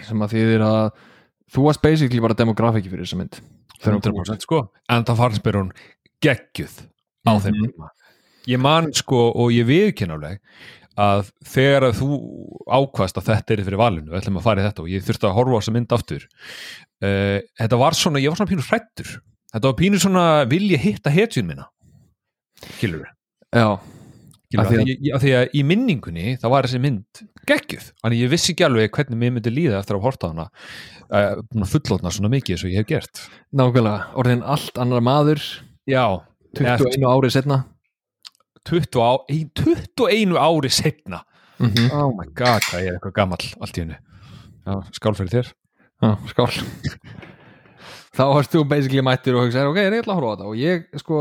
A: sem að þýðir að þú varst basically bara demografiki fyrir þessa mynd
B: 100% sko, en það fannst mér hún geggjuð á þeim
A: Mhm.
B: tíma ég man sko og ég viðkynnáleg að þegar að þú ákvast að þetta er fyrir valinu, við ætlum að fara í þetta og ég þurfti að horfa á þessa mynd aftur uh, þetta var svona, ég var svona pínu hrættur þetta var pínu svona vilja hitta hetjun minna skilur við
A: já, Af
B: Af
A: því
B: því, að, af því að í minningunni þá var þessi mynd geggjuð Þannig ég vissi ekki alveg hvernig mér myndi líða eftir að horta hana uh, fullotna svona mikið eins og ég hef gert
A: nákvæmlega, orðin allt annar maður
B: Já,
A: 21 ári setna
B: 20 á, ein, 21 ári setna
A: mhm,
B: oh my god, það er eitthvað gamall allt í hennu Já, skál fyrir þér
A: Já, skál Þá varst þú basically mættir og hugsaði, ok, ég er eitthvað að horfa á þetta og ég, sko,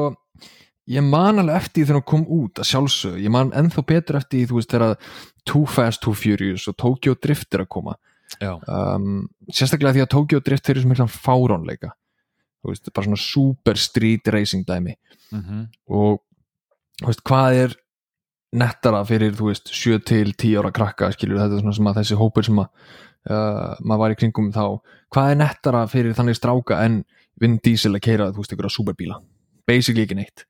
A: ég man alveg eftir því þegar hún kom út að sjálfsög ég man ennþá betur eftir því, þú veist, þegar Too Fast, Too Furious og Tokyo Drift er að koma
B: Já,
A: um, sérstaklega því að Tokyo Drift þeir eru svo miklan fáránleika þú veist, bara svona super street racing dæmi og þú veist, hvað er nettara fyrir, þú veist, 7 til 10 ára krakka, skilur þetta er svona sem að þessi hópur sem að uh, maður var í kringum þá, hvað er nettara fyrir þannig stráka en vinn dísil að keira, þú veist, ykkur að superbíla basically ekki neitt,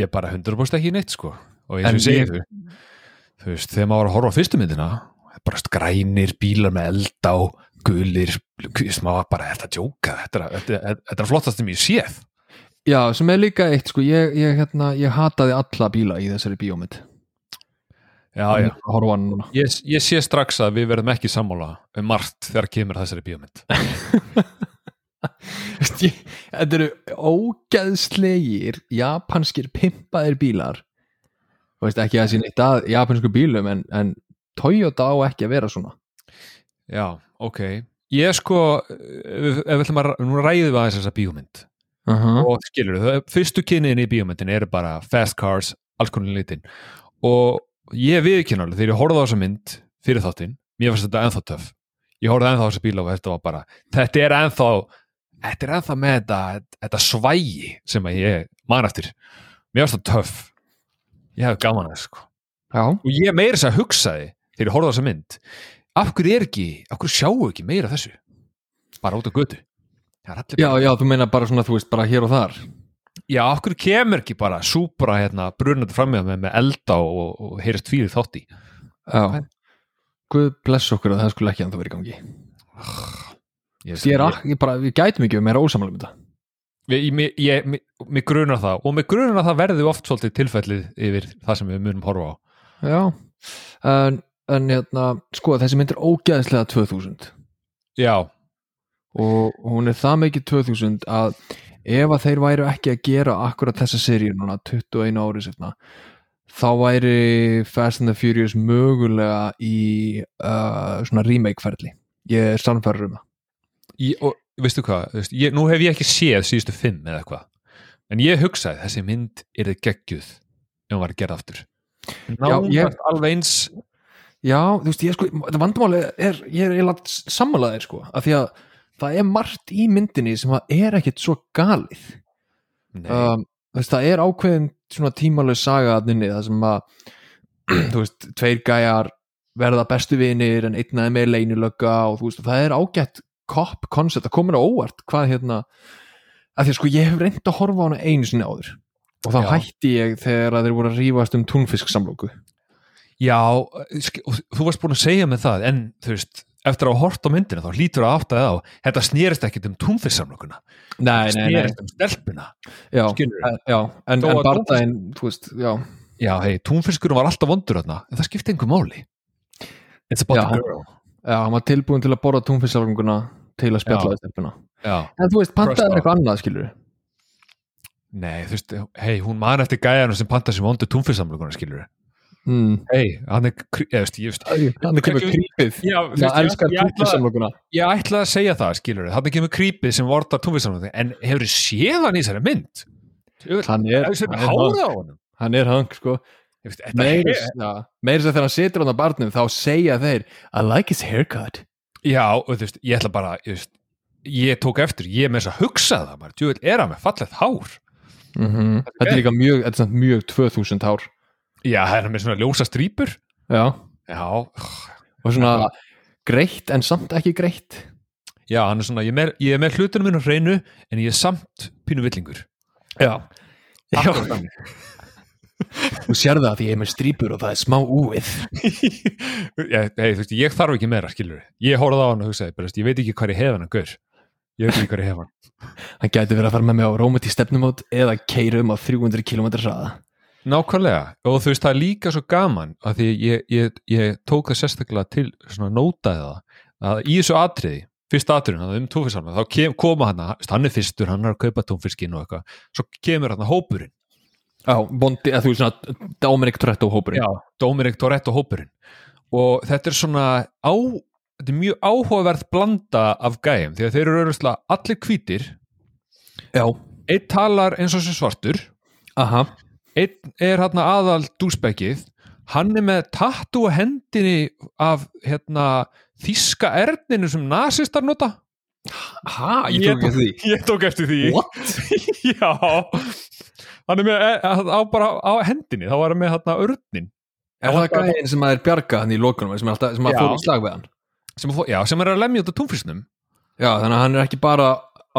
B: ég er bara 100% ekki í neitt sko og eins
A: En
B: og ég segi
A: ég-
B: þú þú veist, þegar maður var að horfa á fyrstu myndina bara st- grænir bílar með eld á gulir, maður var bara þetta er að djóka, þetta er, að- þetta er, þetta er flottast sem ég séð
A: já, sem er líka eitt sko, ég, ég, hérna, ég hataði alla bíla í þessari bíómynd
B: já, já.
A: horfa hann núna
B: Ég, ég sé strax að við verðum ekki sammála um margt þegar kemur að þessari bíómynd
A: Veist ég- Þetta eru ógeðslegir japanskir pimpaðir bílar Þú veist ekki að það sé neitt að japansku bílum en, en Toyota á ekki að vera svona
B: Já, ok. Ég sko, ef ef við ætlum að, nú ræðum við aðeins þessa bíómynd
A: -huh.
B: og skilur þau, fyrstu kynniðin í bíómyndin eru bara fast cars, alls konar litin og ég viðkynna alveg þegar ég horfði á þessa mynd fyrir þáttinn, mér fannst þetta ennþá töff. Ég horfði ennþá á þessa bíla og þetta var bara, þetta er ennþá, þetta er ennþá með þetta, þetta svægi sem að ég man eftir. Mér fannst þetta töff. Ég hef gaman að þessu sko
A: Já,
B: og ég meira þess að hugsaði þegar ég horfði á þessa mynd af hverju er ekki, af hverju sjáu ekki meira af þessu bara út á götu Það er allir
A: já,
B: bara-
A: já, þú meina bara svona, þú veist, bara hér og þar
B: já, af hverju kemur ekki bara súpra hérna, brunandi frammeða með, með elda og, og heyrist fyrir þátt í
A: Já Guð bless okkur að það skulle ekki að það vera í gangi
B: ég,
A: Ég er ak- ég bara, við gætum ekki um meira ósamlega um þetta
B: ég, ég, ég, ég, mig- mig grunar það og mig grunar að það verði oft svolítið tilfellið yfir það sem við munum horfa á
A: Já, en, en hérna, sko, þessi mynd er ógeðslega 2000
B: já,
A: og hún er það mikið 2000 að ef að þeir væru ekki að gera akkurat þessa seríu núna 21 ári sérna þá væri Fast and the Furious mögulega í uh, svona remake ferli ég er sannfærður um það
B: ég, og veistu hvað veist, ég, nú hef ég ekki séð síðustu fimm eða eitthvað en ég hugsaði þessi mynd er geggjuð ef hún var að gera aftur
A: Já, ég-
B: nánast alveg eins
A: já, þú veist, ég sko, þetta vandamáli er ég er eiginlega sammálaðir sko af því að það er margt í myndinni sem að er ekkit svo galið
B: nei,
A: um, þú veist, það er ákveðin svona tímaleg saga að nynni það sem að *clears throat* þú veist, tveir gæjar verða bestu vinir en einn aðeins með leynilögga og þú veist, það er ágætt cop concept, það komur á óvart hvað hérna, af því að sko ég hef reynd að horfa á hana einu sinni áður og þá
B: Já.
A: hætti ég þegar að þeir voru að rífast um túnfisksamlóku
B: já, eh, sk- og þú varst búin að segja með það en þú veist, eftir að hafa hort á myndina þá hlýtur að átta það á þetta snerist ekkit um túnfissamlokuna
A: Nei,
B: snerist um stelpuna
A: Já,
B: Skilurðu?
A: en- já, en,
B: Þó
A: en
B: að
A: barðaðin, þú veist, já
B: já, hei, túnfiskurinn var alltaf vondur þarna en það skipti einhver máli it's about
A: Já.
B: a girl
A: Já, hann var tilbúin til að borða túnfisksamlókuna til að
B: Já.
A: spjalla við stelpuna
B: já,
A: En þú veist,
B: Crossed
A: pantaður
B: out.
A: eitthvað annað, skilur
B: nei, þú veist, hei, hún man eftir gæjanum sem panta sem vondur túnfissamlokuna skilur
A: mm.
B: hei, hann er, krí- eða, þú veist, ég veist
A: Þannig kemur
B: Hvernig-
A: krýpið
B: Já, þú
A: Það
B: veist,
A: elskar
B: ég, ég, ætla,
A: túnfisamlokuna
B: ég ætla að segja það, skilur þið, þannig kemur krípið sem vortar tónfisamlokk, en hefur þið séð hann í þessari mynd? Hefur
A: Hann er,
B: þið
A: hann er,
B: hárað á honum?
A: hann er hang sko
B: Ég veist, þetta er-
A: Meiris að þegar hann situr hann á barnum þá segja þeir I like his haircut
B: Já, og þú veist, ég ætla bara, ég veist, ég tók eftir, ég er með þess að hugsa það, maður, djúvel, er hann með fallegt hár?
A: Mhm. Þetta er líka mjög, þetta er samt mjög 2000 hár
B: Já, það er hann með svona ljósa strýpur?
A: Já
B: Já,
A: Og svona greitt en samt ekki greitt
B: já, hann er svona, ég er með, ég er með hlutunum minn á hreinu, en ég er samt pínu villingur.
A: Já Já,
B: Akkurat þannig.
A: þú sér það að ég er með strýpur og það er smá úið
B: ég, hey, þú veist, ég þarf ekki meira skilur ég horfði á hann og hugsaði bara, þú veist, ég veit ekki hvað ég hef hann gaur ég veit ekki hvað ég hef hann
A: Hann gæti verið að fara með mig á rómet í stefnumót eða keira um á 300 km hraða
B: nákvæmlega, og þú veist það er líka svo gaman að því ég, ég, ég tók það sérstaklega til svona nótaði það að í þessu atriði, fyrsta atriðin hann um túnfiskarna, þá kem, koma hann hann er fyrstur, hann er að kaupa túnfiskinn og eitthvað svo kemur hann hópurinn
A: Já, bondi, eða þú er svona Dominic Toretto hópurinn
B: Já, Dominic Toretto hópurinn og þetta er svona á, þetta er mjög áhugaverð blanda af gæjum því að þeir eru auðvitað allir hvítir
A: Já,
B: einn talar eins og sem svartur
A: aha
B: einn er hérna aðal dúsbekkið hann er með tattu á hendinni af hérna þíska erðninu sem nasistar nota
A: Ha,
B: ég tók
A: eftir
B: ég tók eftir því
A: What?
B: *laughs* já hann er með e, á, bara á hendinni þá var hann með hérna örnin
A: Er það gæðin sem að er bjarga hann í lokunum sem, er alltaf, sem að
B: Já.
A: fór í slag við hann
B: sem, fó, já, sem er að lemja út af túnfísnum
A: Já, þannig að hann er ekki bara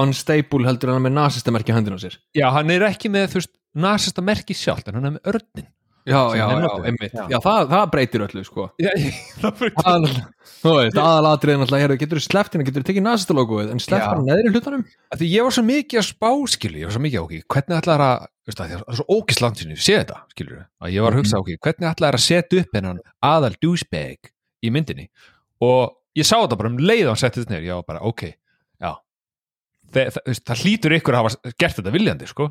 A: unstable heldur en hann er með nasistamerki í höndinu á sér
B: já hann er ekki með þú veist nasista merki sjálft en hann er með örnin
A: já,
B: sem
A: já, já,
B: heimabyggð.
A: einmitt
B: Já. *laughs*
A: já, það, það breytir öllu sko
B: Já, ég- það fyrir
A: Aðal- þú veist, aðalatriðin alltaf hérna, getur þú sleppt hérna, getur þú tekið nasistalókuð en sleppt
B: Já.
A: bara neðri hlutanum
B: að því ég var svo mikið að spá skilur, ég var svo mikið ok, hvernig ætlar að veist það, það er svo ógist langt sinni, sé þetta skilur, að ég var að hugsa ok, hvernig ætlar að setja upp hennan aðal douchebag í myndinni og ég sá þetta bara um leið og hann setti þetta neyður, ég var bara ok já, það, það, það, það hlýtur ykkur að hafa gert þetta viljandi sko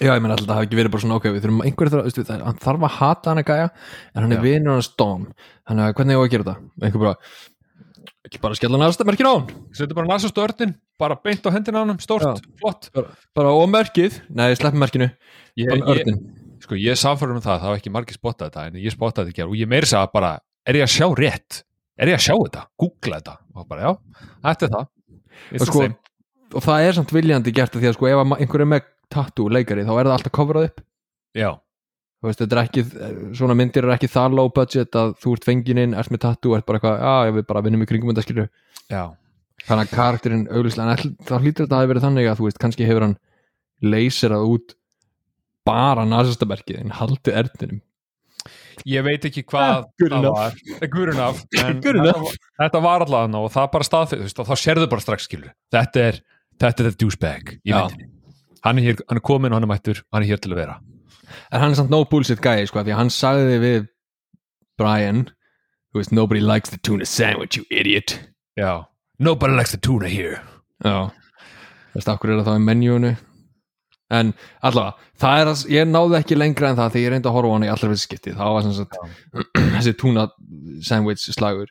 A: Já, ég meina alltaf það hafi ekki verið bara svona ok við þurfum einhverju þarf, veistu, það, hann þarf að hata hann að gæja en hann er
B: Já.
A: vinur hans Dom þannig að hvernig ég á að gera þetta einhver bara, ekki bara skella hann aðstæmerkin á hann
B: setja bara nasast á ördin, bara beint á hendina á hann stórt,
A: Já.
B: flott
A: bara og merkið, nei sleppum merkinu
B: ég,
A: bara
B: ég,
A: örninn,
B: sko, ég er samfærum um það, það var ekki margir spottað þetta, en ég spottaði þetta í gær og ég meiri að bara, er ég að sjá rétt er ég að sjá þetta, googla þetta og bara, já, þetta er það It's
A: Og
B: the
A: sko,
B: same.
A: og það er samt viljandi gert af því að sko ef að ma- einhver er með tattoo leikari þá er það alltaf coverað upp
B: já,
A: Þú veist, þetta er ekki, svona myndir er ekki það low budget að þú ert fengininn, ert með tattoo ert bara eitthvað, já, já, við bara vinnum í kringum þetta skilur
B: já,
A: þannig að karakterinn auglýslega en ætl- þá hlýtur þetta að hafa verið þannig að þú veist kannski hefur hann leyserað út bara nasastaberkið en haldið erðinum
B: ég veit ekki hvað
A: Ah, good
B: það
A: enough.
B: var, Eh, good
A: *laughs*
B: enough en
A: Good
B: þetta, var- þetta var allavega og það bara staðfið, þú veist, og þá sérðu bara strax skilur, þetta er, þetta er the douchebag í
A: Já.
B: myndinni, hann er hér, hann er komin og hann er mættur, hann er hér til að vera
A: en hann er samt no bullshit guy sko af því að hann sagði við Brian þú veist nobody likes the tuna sandwich you idiot
B: já, nobody likes the tuna here
A: já þú veist af hverju er það þá í menjúinu en allavega það er að ég náði ekki lengra en það þegar ég reyndi að horfa á hann í allra fyrst skipti þá var sem sagt *clears throat* þessi tuna sandwich slagur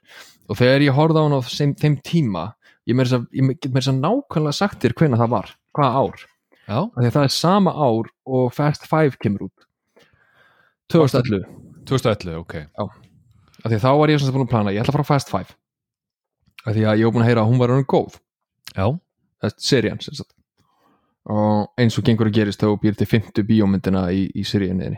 A: og þegar ég horfði á hann á þeim, þeim tíma ég, meira að, segja- ég get mér þess að segja nákvæmlega sagt þér hvena það var, hvaða ár
B: já,
A: af því að það er sama ár og Fast Five kemur út 2011
B: 2011, ok
A: af því að þá var ég sem sagt búin að plana ég ætla að fara á Fast Five af því að ég var búin að heyra að hún var önum góð
B: já,
A: þessi serían sem sagt. og eins og gengur að gerist þá býr til 50 bíómyndina í, í seríinni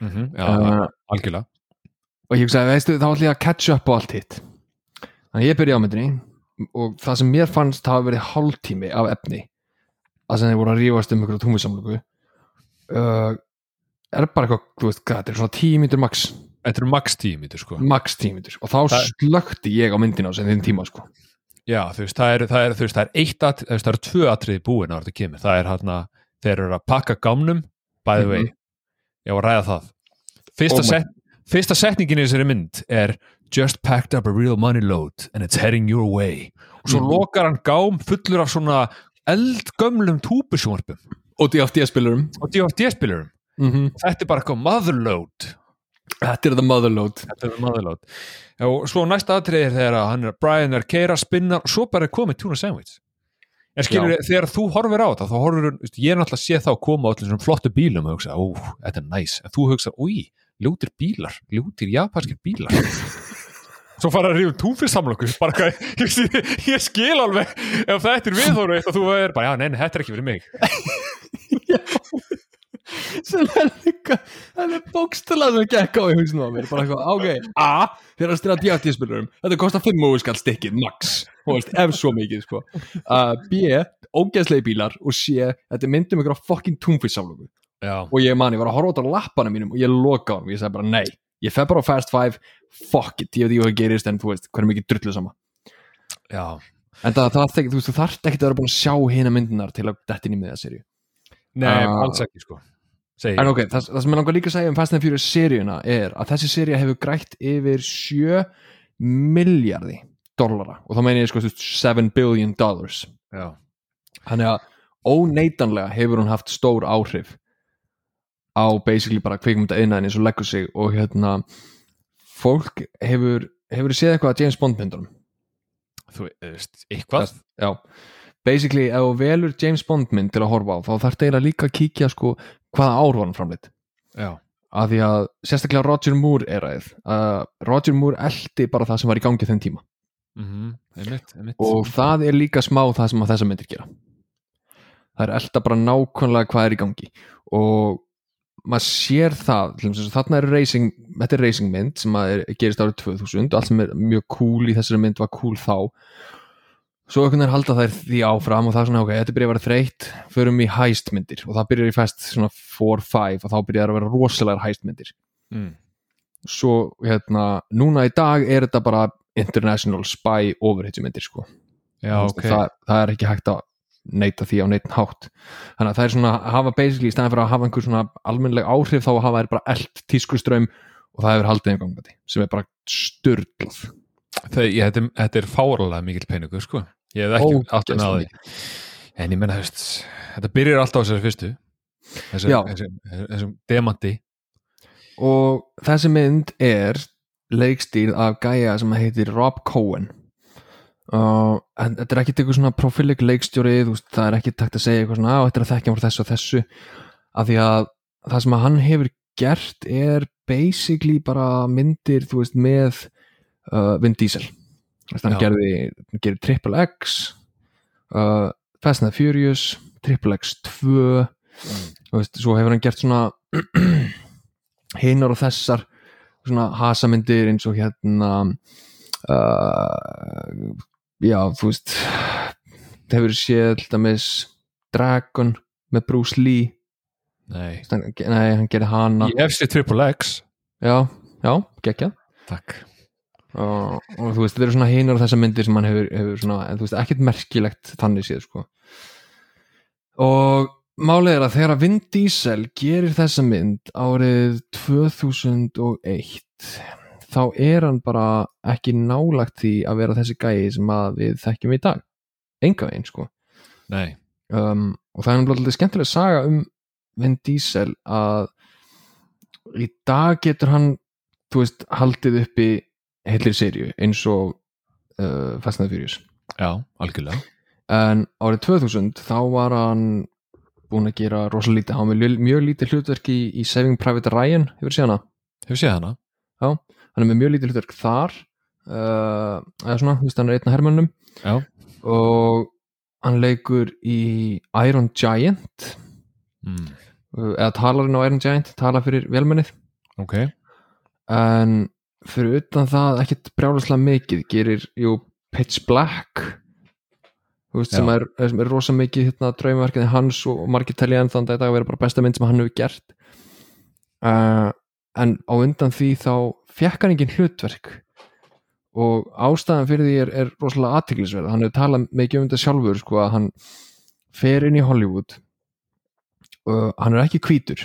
B: mm já,
A: uh,
B: algjörlega
A: og ég hugsaði, veistu, þá ætla ég að catch up á allt hitt þannig að ég byrja á myndinni og það sem mér fannst það hafa verið hálftími af efni að sem þeir voru að rífast um ykkur tónvisamlöku uh, er bara eitthvað, þú veist, hvað, þetta er svona tímyndur max
B: Þetta eru max tíu mítur sko
A: max tímyndur og þá
B: Það-
A: slökti ég á myndina á sem þeim tíma sko.
B: Já, þú veist, það er, það er, þú veist, það er eitt at, þú veist, það er tvö atriði búin að þetta kemur það er hérna, þeir eru að pakka gámnum by the way,
A: Mhm.
B: ég var að ræða það
A: Oh
B: Fyrsta,
A: my-
B: set, fyrsta setningin í þessari mynd er Just packed up a real money load and it's heading your way og svo
A: Mhm.
B: lokar hann gám fullur af svona eldgömlum túpusjónvarpum
A: og DFD-spilurum
B: og DFD-spilurum
A: mm -hmm.
B: Þetta er bara eitthvað motherload
A: Þetta er the motherload
B: Þetta er maðurlát og svo næsta atriði er þegar að hann er Brian er að keira, spinnar og svo bara er komið tuna sandwich en skilur þegar þú horfir á þetta þá horfir, veist, ég er náttúrulega sé þá að koma á allir svona flottu bílum og hugsa, ó, þetta er næs en þú hugsa, úi, ljótir bílar ljótir japanskir bílar *laughs* svo fara að rífum túnfyrsamlokku bara hvað, *laughs* ég, ég, ég skil alveg ef þetta er viðhóru eitt og þú er bara, já, nei, nei, þetta er ekki fyrir mig
A: sem er líka það er bókstala sem gekk á í húsinu á mér bara eitthvað, ok, A þeir eru að stila DFT-spilurum, þetta kostar 5 móðuskall stikkið, max, þú veist, ef svo mikið sko, uh, B ógeðslegi bílar og C, þetta myndum ykkur á fokkin túnfísaflöku
B: já,
A: og ég man, ég var að horfa út á lappanum mínum og ég loka á hann, ég sagði bara nei, ég fer bara á Fast Five fuck it, ég veit ekki hvað gerist en þú veist, hvernig mikið drullu sama
B: já,
A: en það, það, það, þú veist, þú þarft ekkert að vera búin að sjá hina myndinar til að dettin í miða serju
B: nei,
A: Ah.
B: alls ekki sko segi,
A: En
B: ég.
A: ok, það, það sem ég langar líka að segja um Fast and Furious seríuna er að þessi seríu hefur grætt yfir 7 miljardi dollara og þá meina ég sko þú veist, 7 billion dollars
B: já,
A: þannig að óneitanlega hefur hún haft stór áhrif á basically bara kvikmynda innæðin eins og leggur sig og hérna fólk hefur, hefur séð eitthvað að James Bond myndunum
B: þú veist, eitthvað
A: Já, basically ef þú velur James Bond mynd til að horfa á þá þarf þetta líka að kíkja sko hvaða ár var hann framleitt
B: já,
A: að því að sérstaklega Roger Moore er aðeins uh, Roger Moore eldi bara það sem var í gangi þenn tíma
B: mhm, einmitt, einmitt Mhm.
A: og það er líka smá það sem að þessa myndir gera það er elda bara nákvæmlega hvað er í gangi og maður sér það til dæmis eins og þarna er racing, þetta er racing mynd sem að er, gerist árið 2000 allt sem er mjög cool í þessari mynd var cool þá svo einhvern veginn halda þær því áfram og það er svona ok, þetta byrja að vera þreytt förum í hæstmyndir og það byrjar í fest svona 4-5 og þá byrja þær að vera rosalega hæstmyndir
B: mm.
A: svo hérna, núna í dag er þetta bara international spy overhitjumyndir sko
B: já, ok
A: það, það er ekki hægt að neyta því á neitt hátt þannig að það er svona að hafa basically í staðan fyrir að hafa einhver svona almennleg áhrif þá hafa þær bara eld tískuströym og það hefur haldið einn gangandi sem er bara styrlað
B: Þau, ég, þetta, er- þetta er fáralega mikil peningur sko. ég hef ekki
A: Ógeðslega
B: alltaf náði en ég menna hefst, þetta byrjar alltaf á þessari fyrstu þessum,
A: Já.
B: þessum, þessum demanti
A: og þessi mynd er leikstýrð af gæja sem heitir Rob Cohen uh, en þetta er ekkit eitthvað svona profilic leikstjóri þú veist, það er ekki takt að segja eitthvað svona "Á, þetta er að þekkja hann frá þessu og þessu af því að það sem að hann hefur gert er basically bara myndir þú veist, með uh, Vin Diesel Þú veist, hann
B: Já.
A: gerði, hann gerði Triple X uh, Fast and the Furious Triple X 2 Þú veist, svo hefur hann gert svona *clears throat* hinar og þessar svona hasamyndir eins og hérna uh, já, þú veist hefur séð til dæmis Dragon með Bruce Lee
B: nei,
A: Hann- nei, hann gerði hana
B: ég hef sér Triple X
A: já, já, geggjað
B: takk
A: og, og þú veist, þetta eru svona hinar og þessar myndir sem hann hefur, hefur svona, en þú veist, ekkert merkilegt þannig séð, sko og málið er að þegar að Vin Diesel gerir þessa mynd árið 2001 þá er hann bara ekki nálagt því að vera þessi gæi sem að við þekkjum í dag enga veginn, sko
B: nei,
A: um, og það er náttúrulega alltaf skemmtileg saga um Vin Diesel að í dag getur hann þú veist, haldið uppi heilir sériu eins og uh, Fast and the Furious
B: já, algjörlega
A: en árið 2000 þá var hann búin að gera rosalega lítið, hann var með mjög lítið hlutverk í, í Saving Private Ryan, hefur séð hana
B: hefur séð hana
A: hann er með mjög lítið hlutverk þar uh, eða svona, þú veist, hann er einn af hermönnum
B: Já.
A: og hann leikur í Iron Giant
B: mm.
A: Uh, eða talarinn á Iron Giant tala fyrir velmennið
B: ok,
A: en fyrir utan það ekkit brjálaslega mikið gerir jú, Pitch Black þú veist,
B: Já.
A: sem, er, sem er rosa mikið hérna, draumaverkinni hans og og margir telja enn þannig að þetta vera bara besta mynd sem hann hefur gert uh, en á undan því þá fekk hann engin hlutverk og ástæðan fyrir því er, er rosalega aðtiklisverð hann hefur talað mikið um þetta sjálfur sko, að hann fer inn í Hollywood og hann er ekki hvítur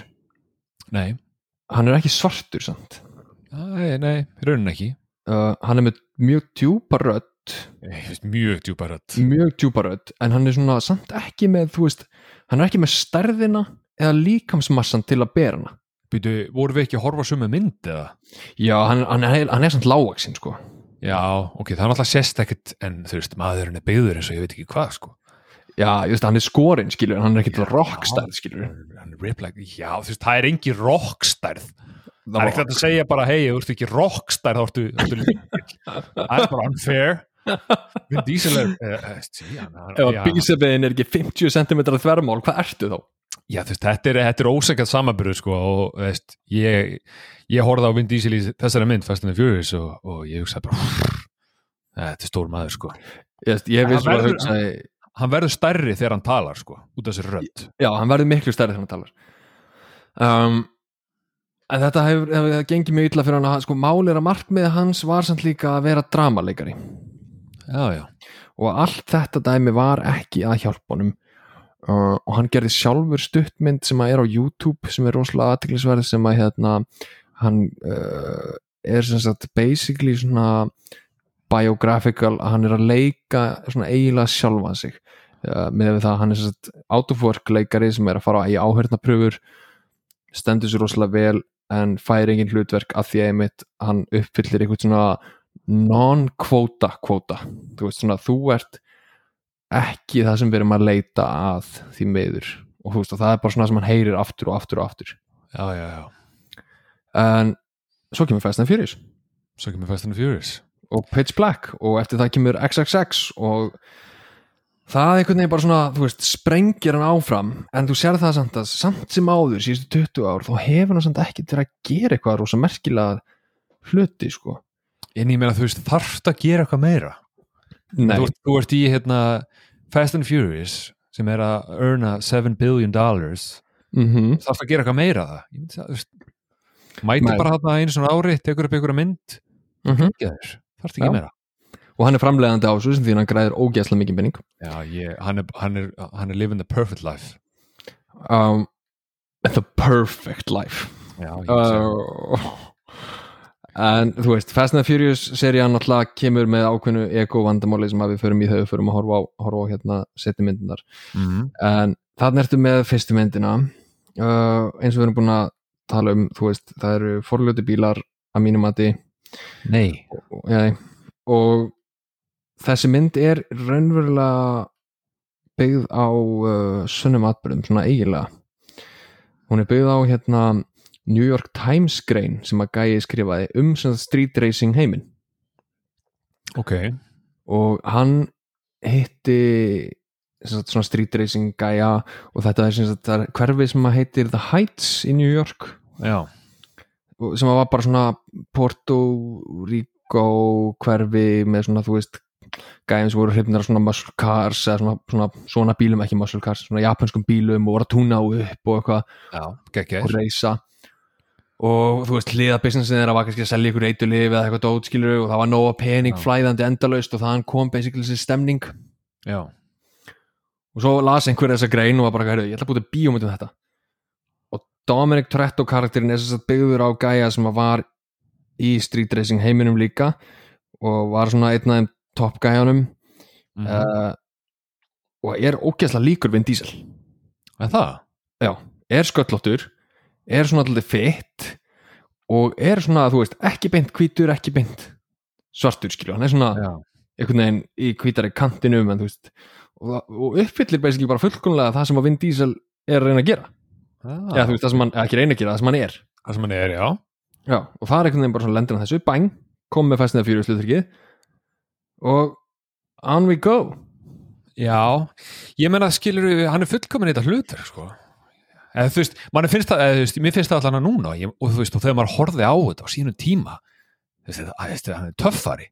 B: nei
A: hann er ekki svartur samt
B: nei, nei, raunin ekki
A: uh, hann er með mjög djúpa rödd
B: Ég finnst mjög djúpa rödd
A: mjög djúpa rödd en hann er svona samt ekki með þú veist, hann er ekki með stærðina eða líkamsmassan til að bera hana
B: Býtu, voru við ekki að horfa á sömu mynd eða?
A: já, hann, hann, er, hann er samt lágaksin sko
B: Já, ok, það er alltaf sérst ekkert en þú veist, maðurinn er byggður eins og ég veit ekki hvað sko.
A: já, ég veist, hann er skorinn skilur en hann er ekki til
B: Já.
A: rockstærð skilur
B: hann er riplæk, já þú veist, það er engi rockstærð það er ekki hægt að segja bara, hei, þú ert ekki rockstærð þá ertu, ertu lítill. það er bara unfair Vin Diesel er eh, eh, sí, hann- hann-
A: ef að
B: já,
A: bísefiðin er ekki 50 cm þvermál, hvað ertu þá?
B: já, þú veist, þetta er, þetta er ósækjað samaburð sko, og þú veist, ég ég horfði á Vin Diesel í þessari mynd Fast and the Furious og, og ég hugsaði bara þetta er stór maður sko
A: Ég, veist, ég
B: Hann
A: veist að
B: verður-
A: hugsa
B: hann verður stærri þegar hann talar sko, út af þessi rödd
A: já, hann verður miklu stærri þegar hann talar um, en þetta hefur, hefur það gengið mjög illa fyrir hann að sko, málið er að markmið hans var samt líka að vera dramaleikari
B: já, já,
A: og allt þetta dæmi var ekki að hjálpa honum uh, og hann gerði sjálfur stuttmynd sem að er á YouTube sem er rosalega aðtiklisverð sem að hérna hann uh, er sem sagt basically svona biographical að hann er að leika svona eiginlega sjálfan sig uh, með það að hann er sem sagt out of work leikari sem er að fara í áhörnapröfur stendur sér rosalega vel en fær engin hlutverk að því að einmitt hann uppfyllir eitthvað svona non-kvóta kvóta þú veist svona þú ert ekki það sem við erum að leita að því meður og þú veist og það er bara svona sem hann heyrir aftur og aftur og aftur
B: já, já, já.
A: en svo kemur Fast and Furious
B: svo kemur Fast and the Furious
A: og Pitch Black og eftir það kemur XXX og það einhvern veginn bara svona, þú veist, sprengir hann áfram en þú sér það samt að samt sem áður síðustu 20 ár, þá hefur hann samt ekki til að gera eitthvað rosa merkilega hluti, sko
B: en ég meina þú veist, þarft að gera eitthvað meira
A: Nei,
B: þú, ert- þú ert í hérna Fast and Furious sem er að earna 7 billion dollars
A: mhm,
B: þarf að gera eitthvað meira það Ég myndi að, þú veist, mæti
A: Nei.
B: bara hérna einu svona ári tekur upp einhverja mynd
A: mhm.
B: þarf ekki
A: Já.
B: meira
A: og hann er framlegandi á þessu sem því hann græðir ógeðslega mikið penning
B: Já, ég, hann, er, hann, er, hann er living the perfect life
A: um, The Perfect Life
B: Já, ég uh,
A: uh, en þú veist Fast and the Furious serían náttúrulega kemur með ákveðnu ego vandamáli sem að við förum í þau förum að horfa á, horfa á hérna setni myndinar
B: mm,
A: en þannig ertu með fyrstu myndina uh, eins og við erum búin að tala um þú veist, það eru forljóti bílar að mínum mati
B: Nei
A: og, ja, og þessi mynd er raunverulega byggð á uh, sunnum atbyrðum, svona eiginlega hún er byggð á hérna New York Times grein sem að gæi skrifaði um sem sagt, street racing heiminn
B: Ok
A: og hann hitti sem sagt, svona street racing gæja og þetta er sem sagt, það er hverfi sem að heitir The Heights í New York
B: Já,
A: og- sem að var bara svona Porto Rico hverfi með svona þú veist gæðin sem voru hrifnir af svona muscle cars eða svona, svona, svona bílum, ekki muscle cars svona japanskum bílum og voru að túna á upp og eitthvað
B: já,
A: og
B: geggjær
A: reysa og þú veist hliðabusinessin þeirra var kannski að selja ykkur eitulif eða eitthvað dótskilur og það var nóga pening
B: Já.
A: flæðandi endalaust og þaðan kom basically þessi stemning
B: Já,
A: og svo las einhver þessa grein og var bara, heyrðu, ég ætla að búta bíómynd um þetta og Dominic Toretto karakterinn er þess að byggður á gæja sem að var í street racing heiminum líka og var svona einn af þeim top gæjanum
B: mm
A: uh, og er ógeðslega líkur Vin Diesel
B: er það?
A: Já, er sköllóttur er svona alltaf fitt og er svona, þú veist, ekki beint hvítur, ekki beint svartur skilju, hann er svona
B: Já,
A: einhvern veginn í hvítari kantinum en þú veist og, og uppfyllir basically bara fullkomlega það sem að Vin Diesel er að reyna að gera
B: ah.
A: eða þú veist það sem hann, eða ekki reyna að gera, það sem hann er
B: það sem hann er, já
A: já, og það er einhvern veginn bara svona lendir hann þessu, bang kom með fæstina fyrir sluttrykið og on we go
B: Já, ég menna skilur við, hann er fullkomin í þetta hlutur sko. eða þú veist, mann finnst það eða, þú veist, mér finnst það allan að núna ég, og þú veist, og þegar maður horfði á þetta á sínum tíma þú veist, það, veist, hann er töffari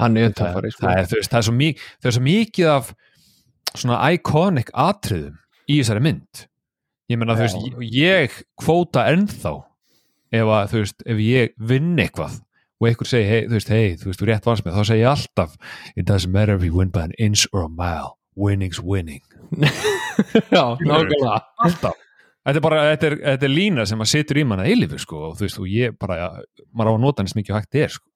A: hann er töffari, sko
B: það, er, þú veist, það, er svo mik, það er svo mikið af svona iconic atriðum í þessari mynd ég menna, þú veist, ég, ég kvóta ennþá ef að, þú veist, ef ég vinn eitthvað og einhver segi, hey, þú veist, hei, þú veist, þú rétt vannst með þá segi ég alltaf, it doesn't matter if you win by an inch or a mile, winning's winning
A: já, nákvæmlega
B: alltaf Þetta er bara, þetta er, þetta er lína sem að situr í manna eilifu sko og þú veist og ég bara, ja, maður á að nota hann sem mikið og hægt er sko.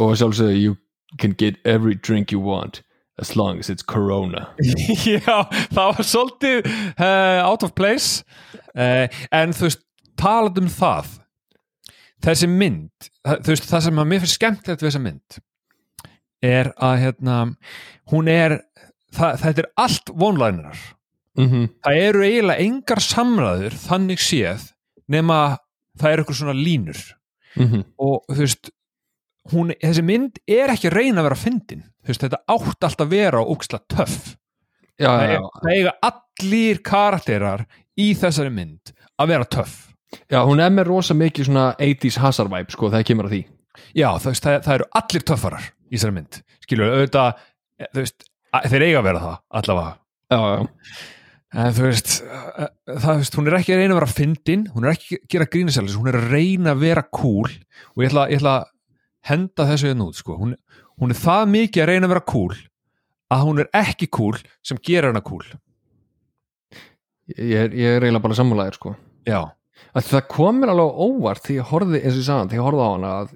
A: *laughs* og sjálfsögðu, you can get every drink you want as long as it's corona
B: *laughs* Já, það var svolítið uh, out of place uh, en þú veist, talað um það þessi mynd það, þú veist, það sem að mér finnst skemmtilegt við þessa mynd er að hérna, hún er það, þetta er allt vonlænirar
A: mm -hmm.
B: það eru eiginlega engar samræður þannig séð nema það eru ykkur svona línur
A: Mm -hmm.
B: og þú veist hún, þessi mynd er ekki að reyna að vera fyndin þú veist, þetta átt alltaf að vera og óksla töff
A: já, já,
B: það, er,
A: já,
B: það eiga allir karakterar í þessari mynd að vera töff
A: já, hún er með rosa mikið svona 80s hazard vibe sko, þegar kemur að því
B: já, þú veist, það, það eru allir töffarar í þessari mynd skilur, auðvitað eh, þú veist, að- þeir eiga að vera það allavega
A: já, já,
B: En þú veist, eh, það, þú veist, hún er ekki að reyna að vera fyndin, hún er ekki að gera grínisælis, hún er að reyna að vera cool og ég ætla, ég ætla að henda þessu hérna út, sko. Hún, hún er það mikið að reyna að vera cool að hún er ekki cool sem gerir hana cool.
A: ég er, ég er eiginlega bara sammálaðir sko.
B: Já,
A: að það komir alveg á óvart því ég horfði, eins og ég sagði, því ég horfði á hana að,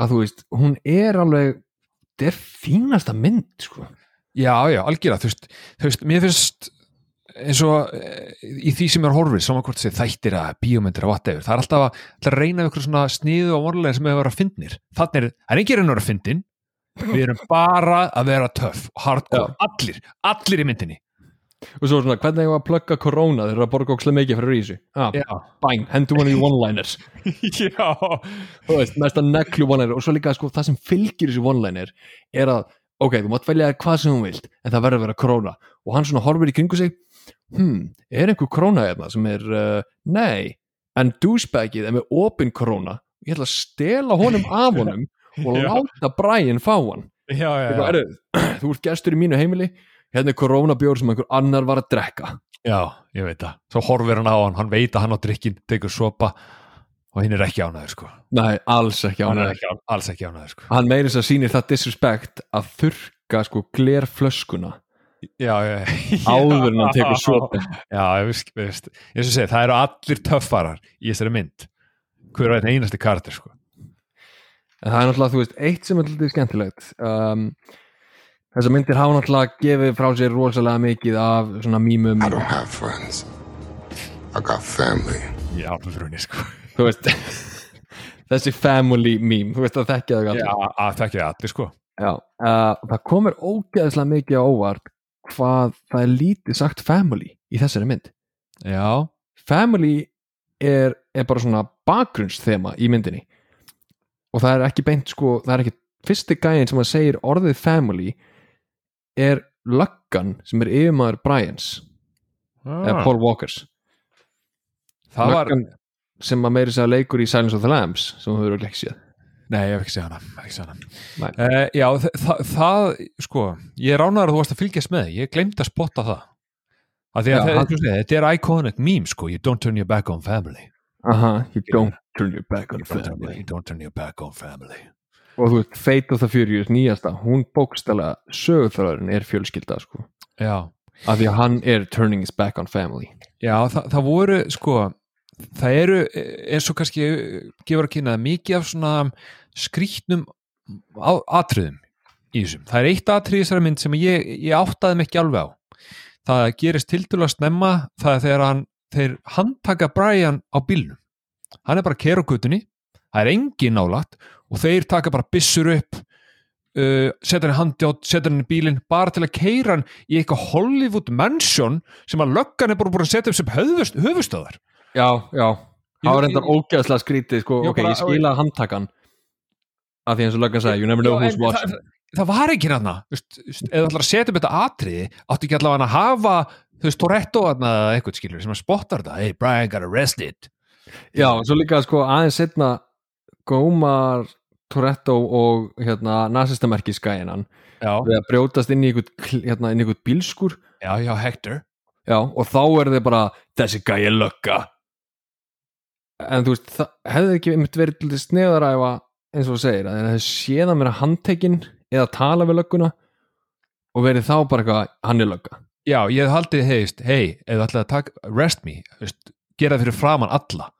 A: að þú veist, hún er alveg þetta er fínasta mynd sko.
B: já, já, algjörða, þú veist, þú veist, mér finnst eins og eh, í því sem er horfið, saman hvort þessi þættir að bíómyndir að whatever, það er alltaf að, alltaf að reyna við ykkur svona sniðu og vonlega sem hefur að vera fyndnir. Þannig er, það er ekki að reyna að vera fyndin, við erum bara að vera töff og hardcore, allir, allir í myndinni
A: og svo svona, hvernig ég var að plugga korona þeir eru að borga ókslega mikið fyrir rísu ah,
B: já,
A: bang, hendur hann í one-liners
B: *laughs* já.
A: þú veist, mesta neglu one-liner og svo líka sko, það sem fylgir þessu one-liner er að, ok, þú mátt velja þér hvað sem hún vilt en það verður að vera króna og hann svona horfir í kringu sig hmm, er einhver króna hérna sem er uh, nei, en douchebagið er með opin króna, ég ætla að stela honum af honum og
B: Já.
A: láta Brian fá hann
B: já, já,
A: Eitthvað,
B: já,
A: "Heyrðu, *clears throat* þú ert gestur í mínu heimili hérna er koronabjór sem einhver annar var að drekka
B: já, ég veit það svo horfir hann á hann, hann veit að hann á drikkin tekur sopa og hinn er ekki ánæður sko.
A: nei, alls ekki
B: hann er
A: ánægður
B: ekki, án- alls ekki ánæður sko.
A: hann meiri þess að sýnir það disrespect að þurka sko glerflöskuna
B: já, já, já.
A: áður en hann tekur sopa
B: já, ég veist, ég veist ég veist að segja, það eru allir töffarar í þessari mynd hver er þetta einasti karakter sko.
A: en það er náttúrulega, þú veist, eitt sem er lítið skemmtilegt um, þessar myndir hafa náttúrulega gefið frá sér rosalega mikið af svona mýmum
C: I don't have friends. I got family.
B: í alvörunni sko.
A: þú veist *laughs* þessi family meme, þú veist að þekkja það
B: já,
A: allir.
B: að þekkja það allir sko.
A: Já, uh, það komur ógeðslega mikið á óvart hvað það er lítið sagt family í þessari mynd
B: já,
A: family er, er bara svona bakgrunnsþema í myndinni og það er ekki beint sko, það er ekki fyrsti gæðin sem að segir orðið family er löggan sem er yfirmaður Bryans eða Paul Walkers
B: Ah. það var
A: Löggan sem að meiri segja leikur í Silence of the Lambs sem þú hefur ekki séð
B: Nei, ég hef ekki séð hana, ekki séð hana.
A: Nei.
B: Uh, Já, þa þa það sko, ég er ránaður að þú varst að fylgjast með ég glemd að spotta það að því
A: Já,
B: að já,
A: hann-
B: það, þetta er iconic meme sko, you don't turn your back on family
A: aha, you don't turn your back on
B: you don't, turn,
A: family
B: you don't turn your back on family
A: og þú veist, Fate of the Furious nýjasta hún bókstælega sögurþráðurinn er fjölskylda sko,
B: Já,
A: af því að hann er turning his back on family
B: já það, það voru sko, það eru eh, eins og kannski eh, gefur að kynna mikið af svona skrýtnum á- atriðum í þessum, það er eitt atrið í þessari mynd sem ég, ég áttaði mig ekki alveg á það gerist tildulega snemma það er þegar hann, þeir handtaka Brian á bílnum, hann er bara kerugutunni, það er engin nálat og þeir taka bara byssur upp uh, setja hann í handjátt setja hann í bílinn, bara til að keira hann í eitthvað Hollywood mansion sem að löggan er bara búin að setja upp sem höfust, höfustöðar
A: já, já,
B: Ég-
A: það var endar
B: ég-
A: ógeðslega skrítið sko,
B: Ég
A: ok,
B: bara-
A: ég skila handtakan af því eins og löggan sagði, you never know
B: Já,
A: who's
B: en
A: watching
B: það, það var ekki hérna, hann eða ætlar að setja upp þetta atriði áttu ekki allavega að hafa þú veist, Toretto þarna eða eitthvað skilur sem að spottar þetta, hey Brian got arrested
A: já, svo líka sko aðeins setna gómar Toretto og hérna nasistamerki skæinan
B: já,
A: við að brjótast inn í einhvern kl- hérna, inn í einhvern bílskur
B: já, já, Hector
A: Já, og þá er þið bara þessi gæja lögga en þú veist, það hefði ekki einmitt verið til sneðaræfa eins og þú segir, að það séða mér að handtekinn eða tala við lögguna og verið þá bara eitthvað, hann er lögga
B: já, ég hef haldið heist, hey, eða ætlaði að taka arrest me, þú veist, gera það fyrir framan alla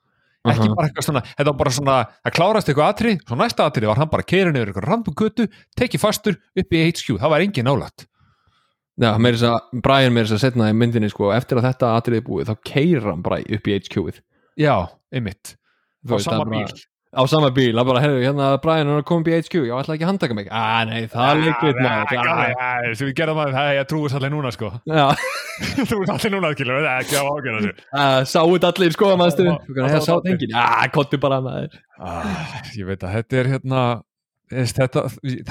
B: ekki
A: Mhm.
B: bara eitthvað svona, þetta var bara svona það klárast eitthvað atrið, svo næsta atrið var hann bara keirin yfir eitthvað random götu, tekið fastur upp í HQ, það var engin nálætt
A: Já, meiri þess að, Brian meiri þess að setna í myndinni sko, eftir að þetta atriði er búið, þá keirir hann bara upp í HQ-ið
B: já, einmitt,
A: Þú
B: á
A: veist, það
B: sama
A: er bara-
B: bíl
A: Á sama bíl, það bara, heyrðu, hérna Brian hann er komið upp í HQ, já, ætla ekki að handtaka mig Ah, nei, það er leikrit maður
B: Já,
A: ah,
B: já, já, sem við gerðum að það, ég trúi allir núna sko *laughs*
A: Já,
B: trúi allir núna skilur, það er ekki að ágjörða þessu
A: Ah, sáu þetta allir sko, mannstu
B: Já,
A: Það sá þetta enginn, já, kottu bara maður
B: ah, ég veit að þetta er hérna þess, þetta,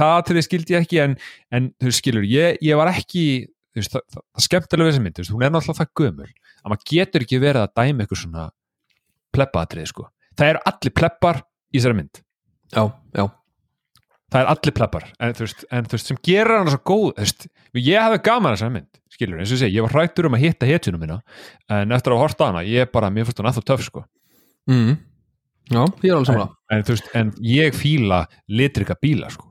B: það til þið skildi ég ekki en, en þú veist, skilur, ég, ég var ekki þú veist, það, það, það skemmtilega við þessa mynd þú veist, hún er náttúrulega það gömul að maður getur ekki verið að dæmi eitthvað svona plebbaatrið sko, það eru allir plebbar í þessari mynd
A: Já, já
B: það er allir pleppar en, þú veist, en þú veist, sem gerir hann svo góð þú veist, ég hefði gaman að þessa mynd skilur, eins og ég segi, ég var hrættur um að hitta hetjunum minna en eftir að horta hana, ég bara mér fyrst hún að það töf sko
A: mm. Já, ég er alveg samla
B: en, þú veist, en ég fíla litrika bíla sko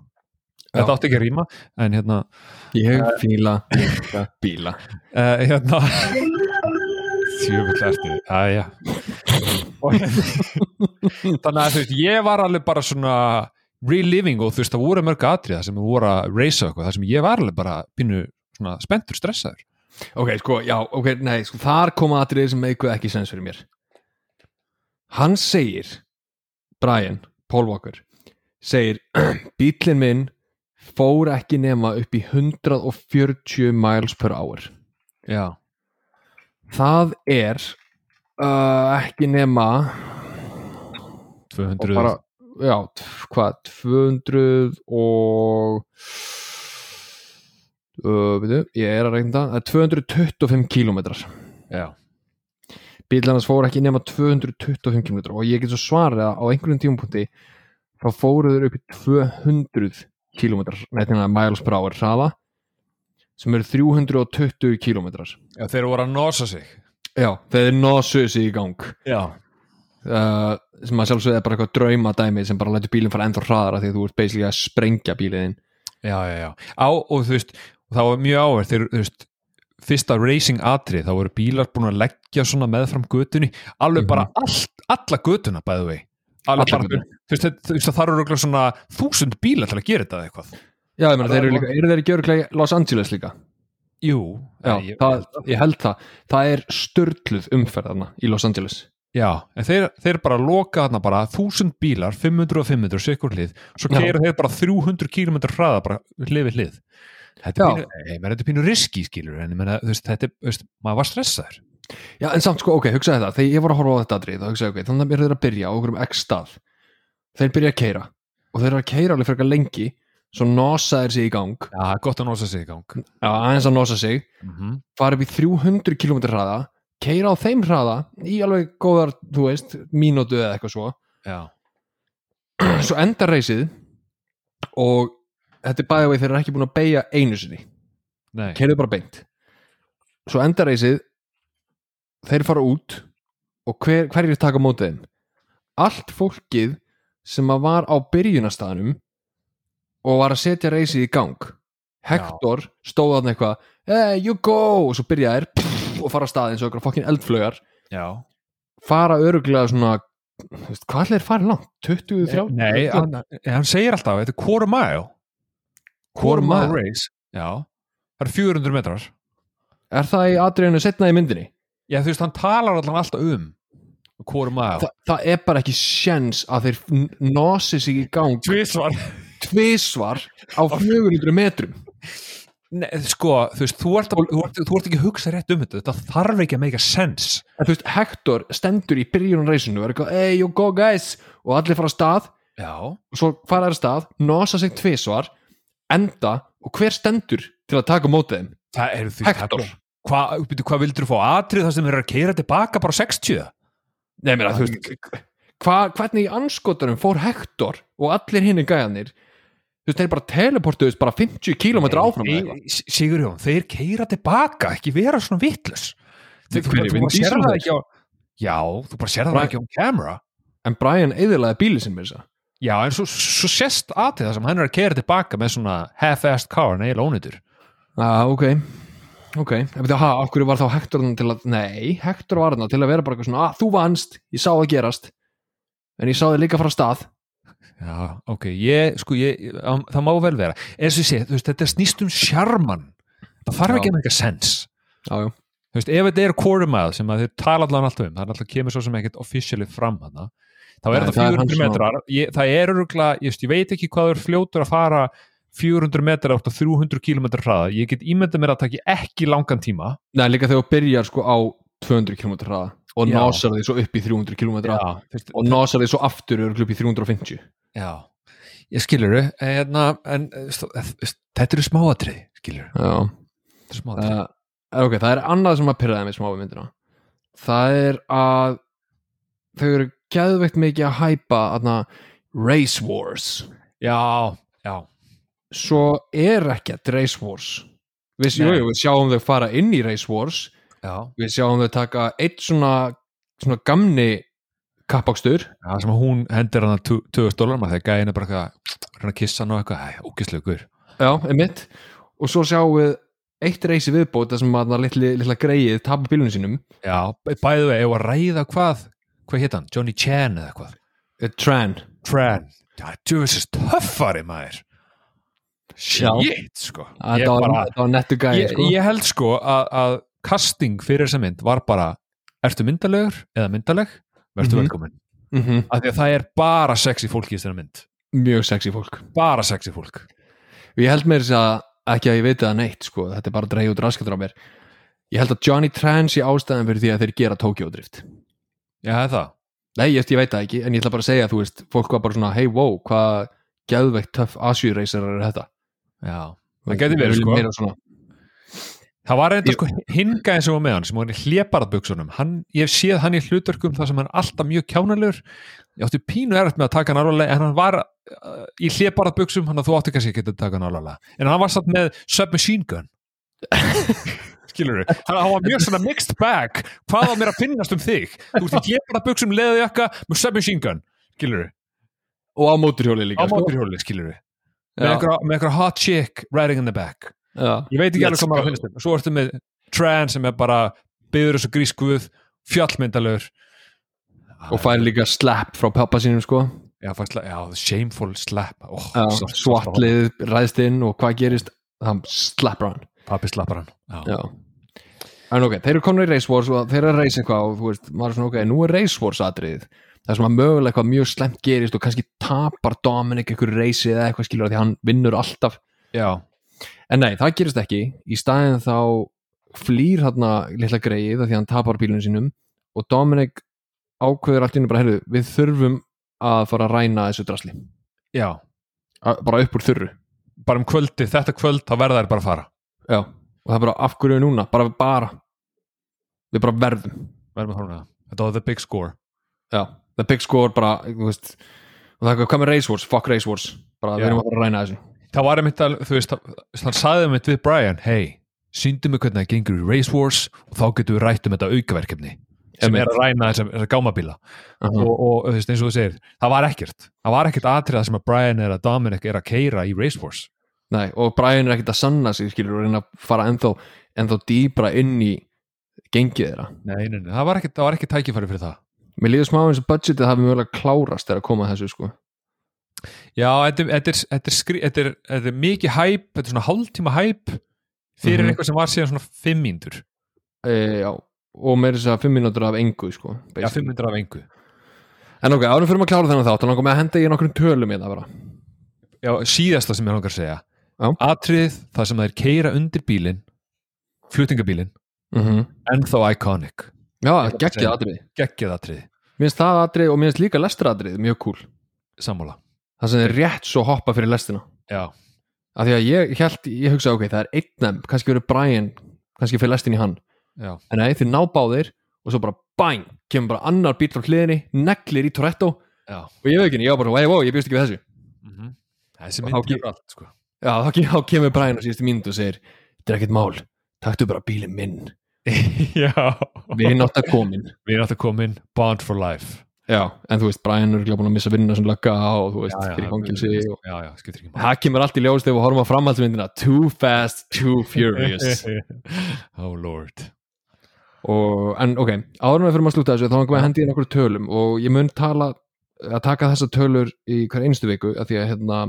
B: þetta átti ekki að rýma en hérna,
A: Ég fíla bíla
B: uh, hérna sjöfull ertu aðja þannig að þú veist, ég var alveg bara svona reliving og þú veist, það voru mörg atriða sem voru að reysa eitthvað, það sem ég var alveg bara pínu svona spenntur, stressaður
A: Ok, sko, já, ok, nei, sko, þar koma atriðir sem meikuð ekki sens fyrir mér Hann segir Brian, Paul Walker segir, *clears throat* bílinn minn fór ekki nema upp í 140 miles per hour
B: já
A: Það er uh, ekki nema
B: 200
A: og bara, já, tf- hvað 200 og uh, veitu, ég er að reynda það er 225 kílómetrar
B: já,
A: bílarnas fór ekki nema 225 kílómetrar og ég get svo svarað að á einhverjum tímapunkti þá fóruður upp í 200 kilometrar, neðina miles per hour hraða sem eru 320 kilometrar
B: Já, þeir voru að nosa sig
A: Já, það er nosus í gang
B: Já,
A: uh, sem að sjálfsögðu er bara eitthvað draumadæmi sem bara lætur bílinn fara ennþá hraðara því að þú ert basically að sprengja bíliðin
B: já, já, já. Á, og þú veist, og það var mjög áverð þeir, þú veist, fyrsta racing atri þá voru bílar búin að leggja svona meðfram götunni, alveg
A: Mhm.
B: bara allt, alla götuna bæðu vei alveg
A: Alla
B: bara,
A: götuna.
B: þú veist, þetta- þú veist að það eru örugglega svona þúsund bílar til að gera þetta eða eitthvað
A: Já, ég meina,
B: Það
A: þeir
B: er
A: eru líka, eru þeir ekki örglega í Los Angeles líka?
B: Jú,
A: Já,
B: ég,
A: það, ég held það Það er störtluð umferðarna í Los Angeles
B: já en þeir, þeir bara loka þarna bara þúsund bílar, 500 og 500 sikur hlið, svo
A: Já.
B: keira þeir bara 300 km hraða bara hlið við hlið Þetta
A: Já.
B: er, pínu, hey, þetta er pínu riski skilur en ég meina, þú veist, þetta er, þú veist, maður var stressaður
A: Já, en samt sko, ok, hugsaði þetta Þegar ég var að horfa á þetta atrið, þá hugsaði, ok, þannig eru þeir að byrja á okkur um x stað Þeir byrja að keira og þeir eru að keira alveg frekar lengi svo nosa þeir sig í gang
B: Já, það er gott að nósa sig í gang
A: Já, aðeins að nosa sig
B: mm
A: fara upp í 300 km hraða keira á þeim hraða í alveg góðar, þú veist, mínútu eða eitthvað svo
B: Já,
A: svo endar reysið og þetta er bæðið þeir eru ekki búin að beigja einu sinni
B: nei
A: keirðu bara beint svo endar reysið þeir fara út og hver, hverjir taka á móti þeim allt fólkið sem að var á byrjunastæðanum og var að setja reysið í gang Hector stóð þarna eitthvað hey, you go, og svo byrja þær pff, og fara að staðin svo eitthvað fokkin eldflögar
B: Já,
A: fara öruglega svona þú veist, hvað allir farið langt? 20, 30?
B: nei, hann, hann segir alltaf þetta er quarter mile
A: Quarter mile.
B: race Já, það er 400 metrar
A: er það í atriðinu setna í myndinni?
B: Já, þú veist, hann talar allan alltaf um quarter mile
A: Þa, það er bara ekki sjens að þeir n- nosi sig í gang
B: Tvisvar
A: tvisvar á 400 metrum
B: Nei, sko, þú veist, þú ert, að, þú, ert, þú ert ekki að hugsa rétt um þetta Þetta þarf ekki að make a sense
A: en þú veist, Hector stendur í byrjunum reysinu og er eitthvað, hey you go guys og allir fara að stað,
B: Já,
A: og svo fara að stað nosa sig tvisvar, enda og hver stendur til að taka á móti þeim
B: það er því
A: Hector.
B: Hvað hva, hvað vildur þú fá atrið það sem er að keira tilbaka bara 60?
A: Nei, mér að þú veist hva, hvernig í anskotunum fór Hector og allir hinni gæjanir þú veist, þeir bara teleportuðist bara 50 km áfram eða eitthvað.
B: Sigurjón, þeir keira tilbaka ekki vera svona vittlus
A: Þeir- hverjir, Vin Diesel þeir?
B: á Já, þú bara sér það
A: Right.
B: ekki á camera
A: en Brian eðilaði bíli sem mér þess
B: Já, en svo, svo sérst aðtið það sem hann er að keira tilbaka með svona half-assed car, nei, lónitur
A: að Ah, ok ok, en veitu, ha, af hverju var þá Hector þarna til að, nei, Hector var þarna til að vera bara eitthvað svona, að þú vannst, ég sá það gerast en ég sá þið líka fara af stað
B: Já, ok, ég, sko, ég, á, það má vel vera eins og ég sé, þú veist, þetta snýst um sjarman það þarf
A: Já.
B: ekki að make a sense
A: já, já,
B: þú veist, ef þetta er quarter mile sem að þeir tala allan alltaf um, það er alltaf kemur svo sem ekkert officially fram hana, þá
A: Nei,
B: er
A: það
B: þetta
A: er
B: 400
A: hans
B: metrar ég, það er örugla, ég, veist, ég veit ekki hvað þau er fljótur að fara 400 metrar átt á 300 km hraða, ég get ímyndað mér að það taki ekki langan tíma
A: nei, líka þegar þú byrjar sko á 200 km hraða og
B: Já.
A: násar því svo upp í 300 km hraða
B: þú veist,
A: og násar því svo aftur örglu upp í 350
B: já, ég skilur þau hérna, en eh, þú veist, þetta eru smáatrið, skilur
A: já,
B: þetta eru smáatrið,
A: uh, ok, það er annað sem að pyrraði mig smá við myndina það er að þau eru geðveikt mikið að hæpa aðna, race wars
B: já, já
A: svo er ekkert Race Wars við, jú,
B: Nei.
A: jú, við sjáum þau fara inn í Race Wars
B: já,
A: við sjáum þau taka eitt svona, svona gamni kappakstur
B: það sem að hún hendir hann að 20 dólar maður þegar gæðin er bara eitthvað að reyna að kissa hann og eitthvað, æ, ógislegur
A: já, einmitt og svo sjáum við eitt reysi viðbóta sem að litli, litla greið tapa bílunum sínum
B: Já, bæðu við, ef að ræða hvað hvað hétt hann, Johnny Chan eða hvað
A: eh, Tran
B: Tran, já, djöfisist töffari maður
A: Já.
B: Shit, sko ég,
A: þetta var,
B: bara,
A: þetta var nettu gæði
B: ég,
A: sko.
B: ég held sko að, að casting fyrir þessa mynd var bara ertu myndalegur eða myndaleg verður
A: Mhm.
B: velkomin,
A: Mhm,
B: af því að það er bara sexy fólk í þessari mynd,
A: mjög sexy fólk
B: bara sexy fólk
A: ég held mér þess að ekki að ég veit það neitt sko. þetta er bara að dreigja út raskat á mér ég held að Johnny Tran sé ástæðan fyrir því að þeir gera Tokyo Drift
B: Já, það er það,
A: Nei, ég, veist, ég veit það ekki, en ég ætla bara að segja, þú veist, fólk var bara svona, hey, wow, hvað geðveikt töff Asjurreisarar er þetta?
B: já Það gæti verið, sko.
A: Meira svona,
B: Það var reynda
A: Ég-
B: sko hingaðin sem var með hann sem var hann í hlébarðbuksunum hann, ég hef séð hann í hlutverkum þar sem hann er alltaf mjög kjánalegur ég átti pínu erft með að taka hann alveg en hann var uh, í hlébarað buksum hann að þú átti kannski ekki að taka hann alveg en hann var satt með submachine
A: *laughs*
B: gun skilur við hann, hann var mjög svona mixed bag hvað var mér að finnast um þig þú ert í hlébarað buksum leðið jakka með submachine gun skilur við,
A: og á móturhjóli
B: á
A: líka sko.
B: móturhjóli skilur við með
A: Já,
B: einhverja- með einhverja hot chick riding in the back
A: já.
B: ég veit ekki alveg
A: Let's
B: hvað maður
A: go.
B: finnst þeim svo ertu með trans sem er bara byður þessu grískuð, fjallmyndalur
A: og fær líka slap frá pappa sínum sko
B: já, fæsla, já, shameful slap oh,
A: Já, svartlið ræðst inn og hvað gerist hann slappar hann
B: pappi slappar hann já.
A: Já. en ok, þeir eru komin í Race Wars og þeir eru að reysa eitthvað og þú veist, maður er svona ok, nú er Race Wars atriðið það sem að mögulega eitthvað mjög slemt gerist og kannski tapar Dominic einhver reysi eða eitthvað skilur því hann vinnur alltaf
B: Já.
A: en nei, það gerist ekki, í staðin þá flýr hann að litla greið af því að hann tapar bílunum sínum og Dominic ákveður allt inni bara, heyrðu, við þurfum að fara að ræna þessu drasli,
B: já,
A: Að- bara upp úr þurru
B: bara um kvöldi, þetta kvöld þá verða þær bara að fara
A: Já, og það er bara af hverju núna, bara bara við bara verðum
B: verðum að fara núna. þetta var the big score
A: Já, the big score bara, þú veist og það er hvað með race wars, fuck race wars bara
B: Já.
A: við erum að fara að ræna þessu
B: það var einmitt að, þú veist, það- hann sagði einmitt við Brian, hey, sýndu mig hvernig það gengur í Race Wars og þá getum við rætt um þetta aukaverkefni sem
A: Einmitt.
B: er að ræna þessar þessa gámabíla
A: Aha.
B: og, og þú veist, eins og þú segir, það var ekkert það var ekkert atriða sem að Brian eða Dominic er að keira í Race Wars
A: Nei, og Brian er ekkert að sanna sig skilur og reyna að fara ennþá ennþá dýbra inn í gengið þeirra
B: nei, nei, nei, það var ekkert, það var ekkert tækifæri fyrir það
A: Mér líður smá eins og budgetið hafi mögulega klárast þegar að koma að þessu sko
B: já, þetta er- þetta er- þetta er skri- þetta er- þetta er mikið hæp, þetta er svona hálftíma hæp fyrir
A: Mhm.
B: eitthvað sem var síðan svona fimm mínútur
A: e, Já, og meira þess að segja fimm mínútur af engu sko
B: já,
A: basically.
B: fimm mínútur af engu
A: En ok, árum fyrir maður að klára þennan þátt, þá langar mig að henda ég nokkrum tölum í það bara
B: já, síðasta sem ég langar að segja
A: Já.
B: atrið það sem það er keira undir bílinn fluttingabílinn,
A: mm
B: ennþá iconic
A: Já,
B: að
A: geggjað
B: segja.
A: atrið
B: geggjað atrið,
A: Mér finnst það atrið og mér finnst líka lestaratrið mjög cool
B: sammála
A: það sem er rétt svo hoppa fyrir lestina
B: já,
A: af því að ég held, ég hugsa ok, það er einn nefn, kannski verið Brian kannski fyrir lestin í hann,
B: já,
A: en nei, þeir ná báðir og svo bara bang, kemur bara annar bíl frá hliðinni, neglir í Toretto
B: já Mhm.
A: og ég veit ekki, ég var bara, wow, wow, ég bjóst ekki við þessu
B: þessi
A: Og
B: mynd
A: þá ge-
B: er allt sko
A: já, þá, ke- þá kemur Brian á síðustu mínútu og segir þetta er ekkert mál, taktu bara bílinn minn
B: já,
A: við erum nátt að komin
B: við erum alltaf komin Bond for Life
A: já, en þú veist, Brian er búin að missa vinnuna sem lögga og þú veist, fyrir fangilsi og
B: já, já, skiptir ekki máli.
A: það kemur allt í ljós þegar við horfum á framhaldsmyndina Too Fast, Too Furious
B: *laughs* oh lord
A: og, en ok, árum við fyrir að slúta þessu þá erum við að hendi inn okkur tölum og ég mun tala að taka þessa tölur í hver einstu viku af því að hérna,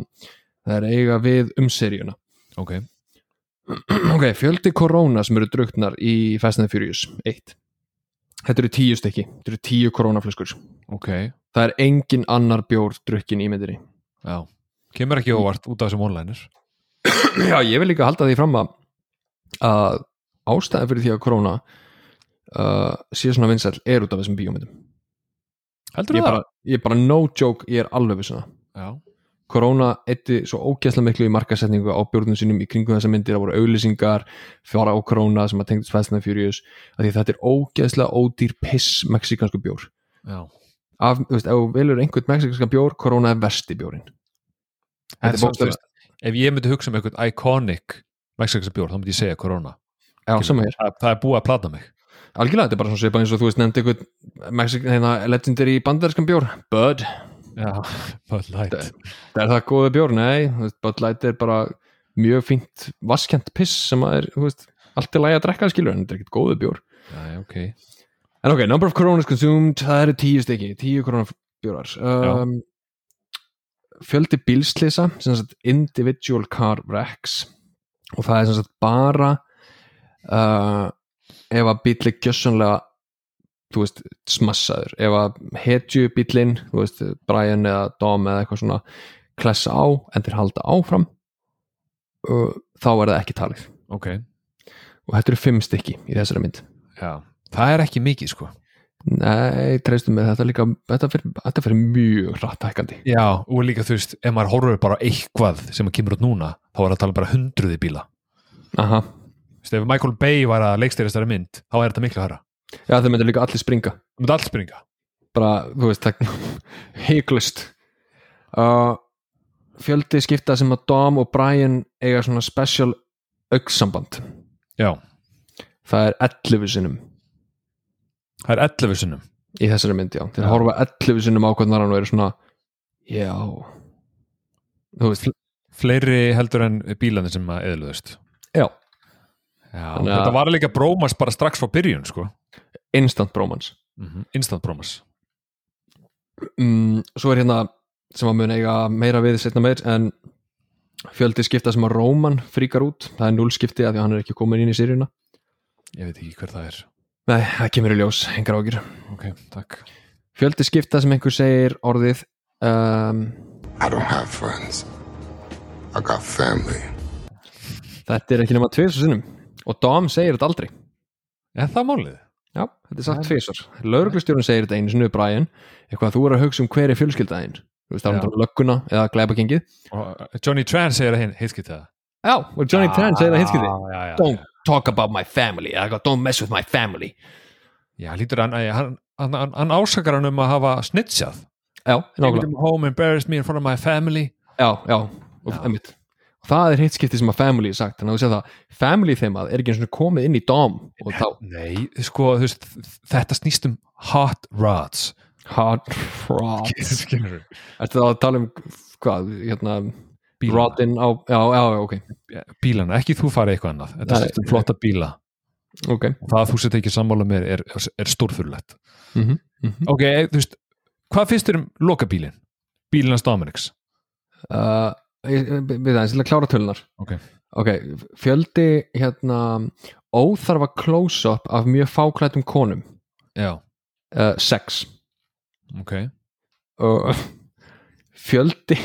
A: það er eiga við um seríuna
B: ok,
A: *clears throat* ok, fjöldi korona sem eru druknar í Fast and the Furious 1 þetta eru tíu stykki, þetta eru tíu koronaflöskur
B: ok,
A: það er engin annar bjór drukkin í myndinni *clears throat*
B: já kemur ekki óvart út af þessum onliners
A: já, ég vil líka halda því fram að, að ástæðan fyrir því að korona uh, sé svona vinsæll er út af þessum bíómyndum
B: heldur
A: ég
B: þú
A: bara,
B: það?
A: ég bara no joke, ég er alveg um við svona
B: já,
A: Corona eitti svo ógæsla miklu í markasetningu á bjórnum sínum í kringum þessa myndir það voru auðlýsingar, fjóra á Corona sem að tengdist Fast and the Furious af því að þetta er ógæsla ódýr piss mexikansku bjór
B: já
A: af, þú veist, ef þú velur einhvern mexikanska bjór Corona er versti bjórin
B: En
A: Þetta er
B: svo, þú
A: bókstaflega-
B: veist, ef ég myndi hugsa um eitthvað iconic mexikanska bjór, þá myndi ég segja Corona
A: Já, sem hér,
B: það, það er búið að plata mig
A: algjörlega þetta er bara svona svipað eins og þú veist nefndi einhvern Mexikan, hérna, legendary bandarískan bjór Bud,
B: já, *laughs* Bud Light
A: er það góða bjór? Nei, þú veist, Bud Light er bara mjög fínt vaskjant piss sem að er, þú veist, allt er lægi að drekka skilur en þetta er ekkert góða bjór
B: já, já, ok,
A: En ok, number of coronas consumed, það eru tíu stykki, tíu koronabjórar. Um, fjöldi bílslisa, sem sagt individual car wrecks og það er sem sagt bara uh, ef að bíl er gjössanlega þú veist, smassaður ef að hetju bílinn, þú veist Brian eða Dom eða eitthvað svona klessa á en þeir halda áfram uh, þá er það ekki talið
B: ok
A: og þetta eru fimm stykki í þessari mynd
B: já. það er ekki mikið sko
A: Nei, treystum með þetta líka þetta fyrir, þetta fyrir mjög hrattækandi
B: já, og líka þú veist, ef maður horfir bara á eitthvað sem kemur út núna, þá er það að tala um bara hundruði bíla
A: Aha,
B: Þú veist, ef Michael Bay var að leikstýrist þar mynd þá er þetta miklu hærra,
A: já það myndir líka allir springa
B: það myndi allt springa
A: *laughs* bara, þú veist, það heiklust uh, fjöldi skipta sem að Dom og Brian eiga svona special auksamband
B: já,
A: það er 11 sinnum
B: það er 11 sinnum
A: í þessari mynd, já þeir
B: Já.
A: horfa 11 sinnum á hvernig hann og eru svona já þú veist,
B: fleiri heldur en bílarnir sem að eðluðust
A: já,
B: já,
A: Þannig að-
B: þetta var líka brómas bara strax frá byrjun sko,
A: instant bromance
B: instant brómas
A: mm, svo er hérna sem að mun eiga meira við setna meir en fjöldi skipta sem að Róman fríkar út, það er 0 skipti af því að hann er ekki komin inn í sýrjuna
B: ég veit ekki hver það er
A: nei, það kemur í ljós, engar ágjur
B: ok, takk
A: fjöldi skipta sem einhver segir orðið um,
C: I don't have friends. I got family.
A: þetta er ekki nema tvisar sinnum og Dom segir þetta aldrei
B: er það málið?
A: já, þetta er sagt tvisar lauruglustjórun segir þetta einu sinni við Brian eitthvað að þú er að hugsa um hver er fjölskyldaðin þú veist, það
B: Já.
A: er um lögguna eða glæpakengið
B: Og uh, Johnny Tran segir að hinn heitskitt það Ah,
A: já, og Johnny Tran segir það hinskyldi
B: já, já, já.
A: don't talk about my family eða eitthvað, don't mess with my family
B: já, lítur hann, æ, hann, hann, hann, hann ásakar hann um að hafa snitsjað
A: já,
B: Take
A: nákvæmlega
B: them home, embarrass me in front of my family
A: já, já, og
B: Já.
A: einmitt og það er hitt skipti sem að family er sagt þannig að þú segir það, family þemað er ekki eins og komið inn í Dom og þá
B: Nei, sko, þú veist, þetta snýst um hot rods
A: hard rock
B: Skilurðu?
A: *laughs* Ertu þá að tala um hvað, hérna
B: Bílana.
A: Rodin á, já, já, já, ok
B: Bílana, ekki þú farið eitthvað annað Þetta
A: Nei.
B: snýst um flotta bíla
A: Ok,
B: Það að þú sett ekki sammála mér er, er, er stórfurlegt
A: mhm, mhm.
B: Ok, eh, þú veist, hvað finnst þér um lokabílin? Bílinas Dominics
A: Uh, ég- ég- Við það, ég ætla að klára tölunar
B: Ok.
A: Ok, fjöldi hérna óþarfa close-up af mjög fáklætum konum
B: Já,
A: uh, sex
B: ok
A: og fjöldi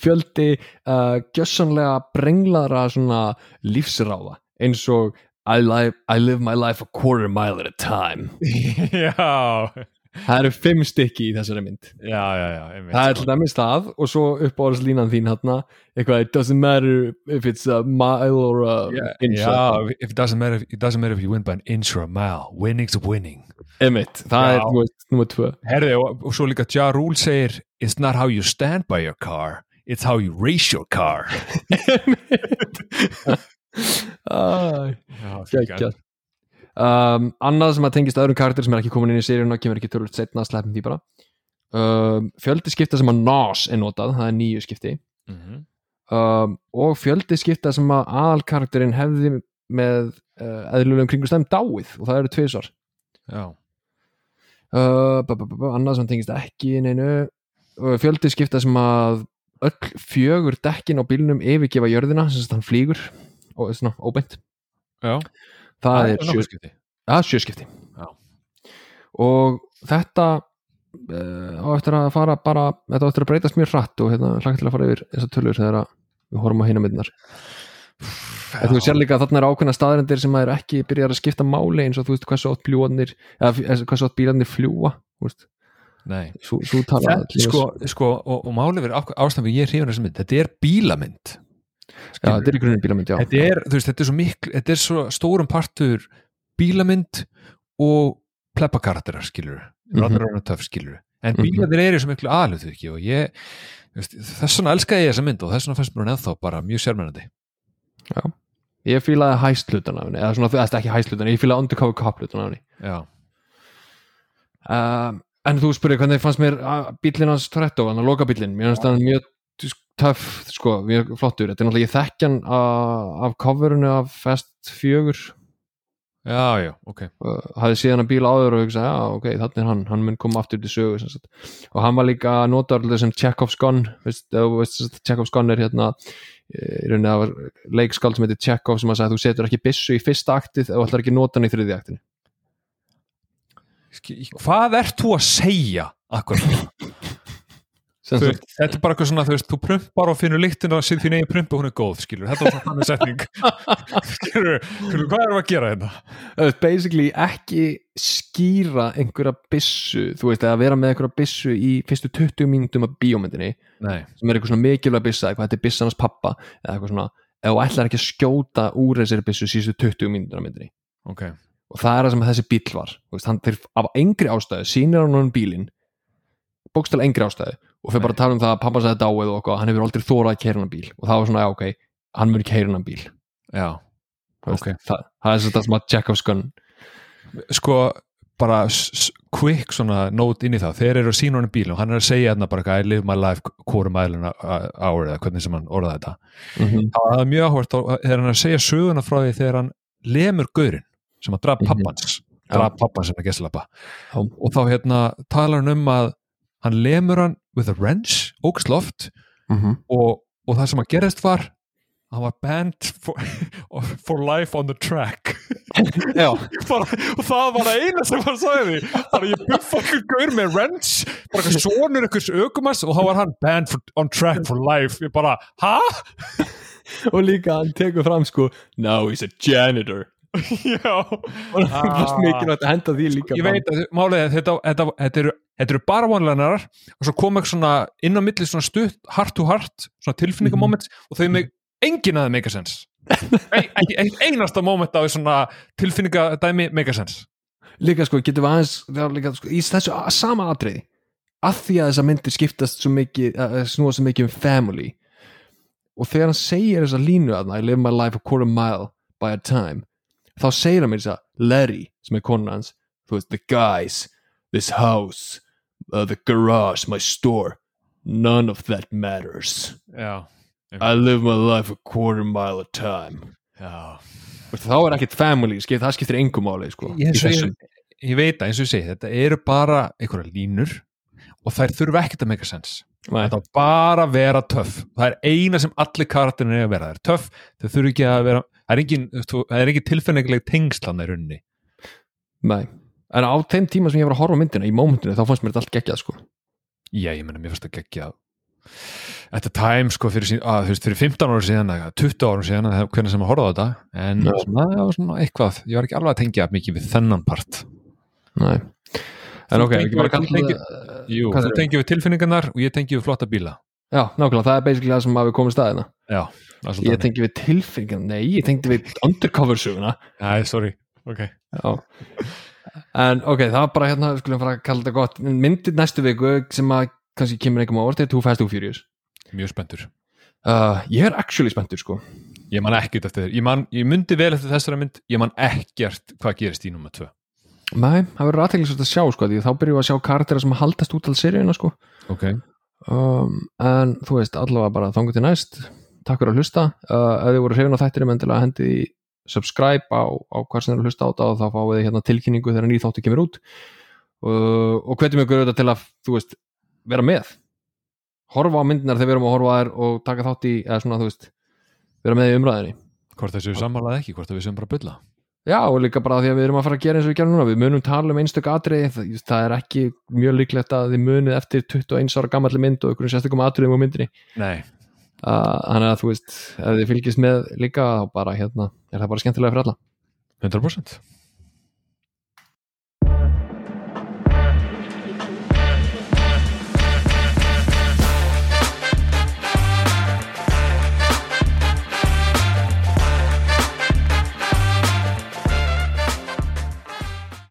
A: fjöldi uh, gjössanlega brenglara svona lífsráða eins og I live, I live my life a quarter mile at a time
B: *laughs* Já,
A: Það eru fimm stykki í þessari mynd
B: já, já, já einmitt,
A: Það er
B: sko.
A: til dæmis það og svo uppáhaldslínan þín hérna eitthvað, it doesn't matter if it's a mile or a inch
B: Já, if it doesn't matter if, it doesn't matter if you win by an inch or a mile Winning's winning
A: Einmitt, það
B: Já.
A: er, þú veist, nummer tvö
B: Herði, og, og svo líka Ja Rule segir It's not how you stand by your car It's how you race your car
A: *laughs* Æ,
B: Já,
A: geggjað. um, Annað sem að tengist öðrum karakter sem er ekki komin inn í seríuna kemur ekki tölvöld setna að sleppum því bara um, Fjöldi skipta sem að Nas er notað það er nýju skipti
B: mm -hmm.
A: um, og fjöldi skipta sem að aðalkarakterinn hefði með uh, eðlulegum kringustæðum dáið og það eru tvisvar
B: Já
A: uh, ba, ba, ba, ba, annað sem tengist ekki neinu uh, fjöldi skipta sem að öll fjögur dekkin á bílnum yfirgefa jörðina sem sagt hann flýgur og svona óbeint
B: Já,
A: það er sjö,
B: sjöskipti
A: ja, sjöskipti
B: Já.
A: og þetta uh, á eftir að fara bara þetta á eftir að breytast mjög hratt og hérna hlagt til að fara yfir þessar tölur þegar að við horfum á hina myndinar En þú sér líka að þarna er ákveðna staðarendir sem að er ekki byrjar að skipta máli eins og þú veist hversu átt bljúanir eða hversu átt bílarnir fljúa þú veist,
B: Nei
A: svo, svo tala
B: Þetta, sko, sko, og, og málið verið ástæðan fyrir ég hrifin þessi mynd, þetta er bílamynd
A: já, þetta er í grunin bílamynd, já
B: þetta er, þú veist, þetta er svo miklu þetta er svo stórum partur bílamynd og pleppakarakterar skilur,
A: Mhm.
B: Rodnir Rónar Töf skilur en
A: Mhm.
B: bílarnir eru svo miklu aðlut ekki og ég, þú veist, þess vegna elskaði ég þessa mynd og þess vegna fannst mér hún ennþá bara mjög sérmennandi
A: ég fílaði hæstlutana af henni eða svona, þetta er ekki hæstlutana, ég fílaði undercover kaplutana af henni
B: Já,
A: um, en þú spurði hvernig fannst mér að bílinn hans Toretto, hann að loka bílinn mér finnst hann mjög töff sko, mjög flottur, þetta er náttúrulega ég þekki hann af af coverinu af Fast 4
B: já, já, ok
A: uh, hafði séð hann að bíla áður og hugsa já, ok, þannig er hann, hann mun koma aftur til sögu sem sagt. og hann var líka að nota alltaf sem Chekhov's gun veist, ef þú veist, sem sagt, Chekhov's gun er hérna eh, í rauninni það var leikskáld sem heitir Chekhov sem að sagði að þú setur ekki byssu í fyrsta aktið ef þú ætlar ekki að nota hann í þriði aktinu
B: Ski- Hvað ert þú að segja akkur?
A: sem
B: Þú
A: sagt,
B: veist, þetta er bara eitthvað svona, þú veist, þú prumpar og finnur lyktin og sér þín eigin prumpu, hún er góð, skilur þetta var svona þannig *laughs* setning skilur, skilur, hvað erum við að gera hérna? þetta?
A: þú veist, basically ekki skýra einhverja byssu þú veist, að vera með einhverja byssu í fyrstu 20 mínútum af bíómyndinni
B: Nei,
A: sem er eitthvað svona mikilvæg byssa, eitthvað þetta er byssan hans pappa eða eitthvað svona, ef þú ætlar ekki að skjóta úr þessari byssu síðustu 20 mínútur af myndinni
B: ok
A: og það er það sem þessi bíl var Þú veist, hann, þeir, af engri ástæðu sýnir hann honum bílinn bókstil engri ástæði og fyrir bara að tala um það að pappa sagði dáið og okkur hann hefur aldrei þórað að keira hann bíl og það var svona, já, ok, hann mun keira hann bíl
B: já,
A: Þú veist,
B: Ok.
A: það, það er sem þetta sem að Jacob's gun
B: sko bara s- s- quick svona note inn í það þeir eru að sína honum bíl og hann er að segja hérna bara eitthvað, I live my life quarter mile an hour eða hvernig sem hann orðaði þetta
A: mm -hmm.
B: það er mjög áhvert þegar hann er að segja söguna frá því þegar hann lemur gaurinn sem að draf
A: Mhm.
B: pappans draf pappans sem að geslappa
A: Já.
B: og þá hérna talar hann um að hann lemur hann with a wrench ógsloft og, og það sem að gerist var hann var banned for, *laughs* for life on the track *laughs*
A: Já,
B: bara, og það var það eina sem hann sagði bara ég buffa okkur gaur með wrench bara eitthvað sonur einhvers ökumars og þá var hann banned for, on track for life ég bara, ha? *laughs*
A: og líka hann tekur fram sko Now he's a janitor
B: já
A: og það
B: Ah.
A: er mikilvægt að henda því líka
B: ég veit að þið- málið er að þetta, þetta, þetta, eru, þetta eru bara vonlænarar og svo kom ekki svona inn á milli svona stutt, heart to heart svona tilfinningamoment og þau mig engin að það make a *laughs* sense Ei- ekki ekki einasta moment af svona tilfinningadæmi make a sense
A: líka sko, getum við aðeins það er líka, sko, í þessu a- sama atriði að því að þessar myndir skiptast svo mikið að að snúa svo mikið um family og þegar hann segir þessa línu að I live my life a quarter mile by a time þá segir hann mér þess að Larry sem er konan hans, þú veist, the guys this house uh, the garage, my store none of that matters
B: já,
A: I live my life a quarter mile a time
B: já
A: Vistu, þá er ekkit family, skip, það skiptir engum áli sko, í
B: ég, ég,
A: þessu.
B: ég veit að eins og ég segi þetta eru bara einhverja línur og þær þurfa ekkert að make a sense
A: Nei.
B: þetta á bara að vera töff það er eina sem allir karakterin er að vera það er töff, þau þurfa ekki að vera það er engin, þú, það er engin tilfinningileg tengslan í runni
A: Nei, en á þeim tíma sem ég var að horfa á myndina í mómentinu þá fannst mér þetta allt geggjað sko
B: já, ég meina, mér fannst það geggja þetta time, sko, fyrir, sín, að, þú veist, fyrir 15 ára síðan, eða 20 ára síðan eða hvernig sem að horfa á þetta, en
A: Já.
B: svona, það var svona eitthvað, ég var ekki alveg að tengja mikið við þennan part
A: Nei, en
B: Þú
A: ok,
B: tengir-
A: ekki bara
B: þú
A: kalla
B: tengir-
A: það
B: Jú,
A: Hvað
B: þú
A: er-
B: tengið við tilfinningarnar og ég tengið við flotta bíla
A: Já, nákvæmlega, það er basically það sem hafi komið staðina
B: já, það er
A: Ég
B: svolítið
A: tengi við tilfingan, nei, ég tengi við undercover söguna
B: Æ, sorry, ok
A: Já En ok, það var bara hérna, við skulum fara að kalla þetta gott Myndið næstu viku sem að kannski kemur einhverjum á orðið, Too Fast, Too Furious
B: mjög spenntur
A: uh, Ég er actually spenntur sko
B: ég man ekkert eftir þér, ég, man, ég myndi vel eftir þessari mynd, ég man ekkert hvað gerist í nummer 2
A: Nei, það verður aðteglisvægt að sjá sko því þá byrjum við að sjá karaktera sem haldast út al seríuna sko
B: ok,
A: um, en þú veist allavega bara þangu til næst takk fyrir að hlusta uh, ef þið voru hrifin á þættinum endilega hendi í subscribe á, á hvað sem þið eru að hlusta á þetta og þá fáið þið hérna tilkynningu þegar nýr þáttu kemur út uh, og hvetjum ykkur auðvitað til að þú veist, vera með horfa á myndinar þegar við erum að horfa á þær og taka þátt í, eða svona þú veist vera með í umræðinni
B: hvort þessu sammálað ekki, hvort að við sem bara að bylla
A: Já, og líka bara því að við erum að fara að gera eins og við gerum núna við munum tala um einstök atriði það, það er ekki mjög líklegt að þið munið eftir 21 ára gammalli mynd og ykkur sérstakum atriðum á myndinni
B: nei,
A: Uh, þannig að þú veist, ef þið fylgist með líka þá bara hérna, er það bara skemmtilega fyrir alla
B: 100%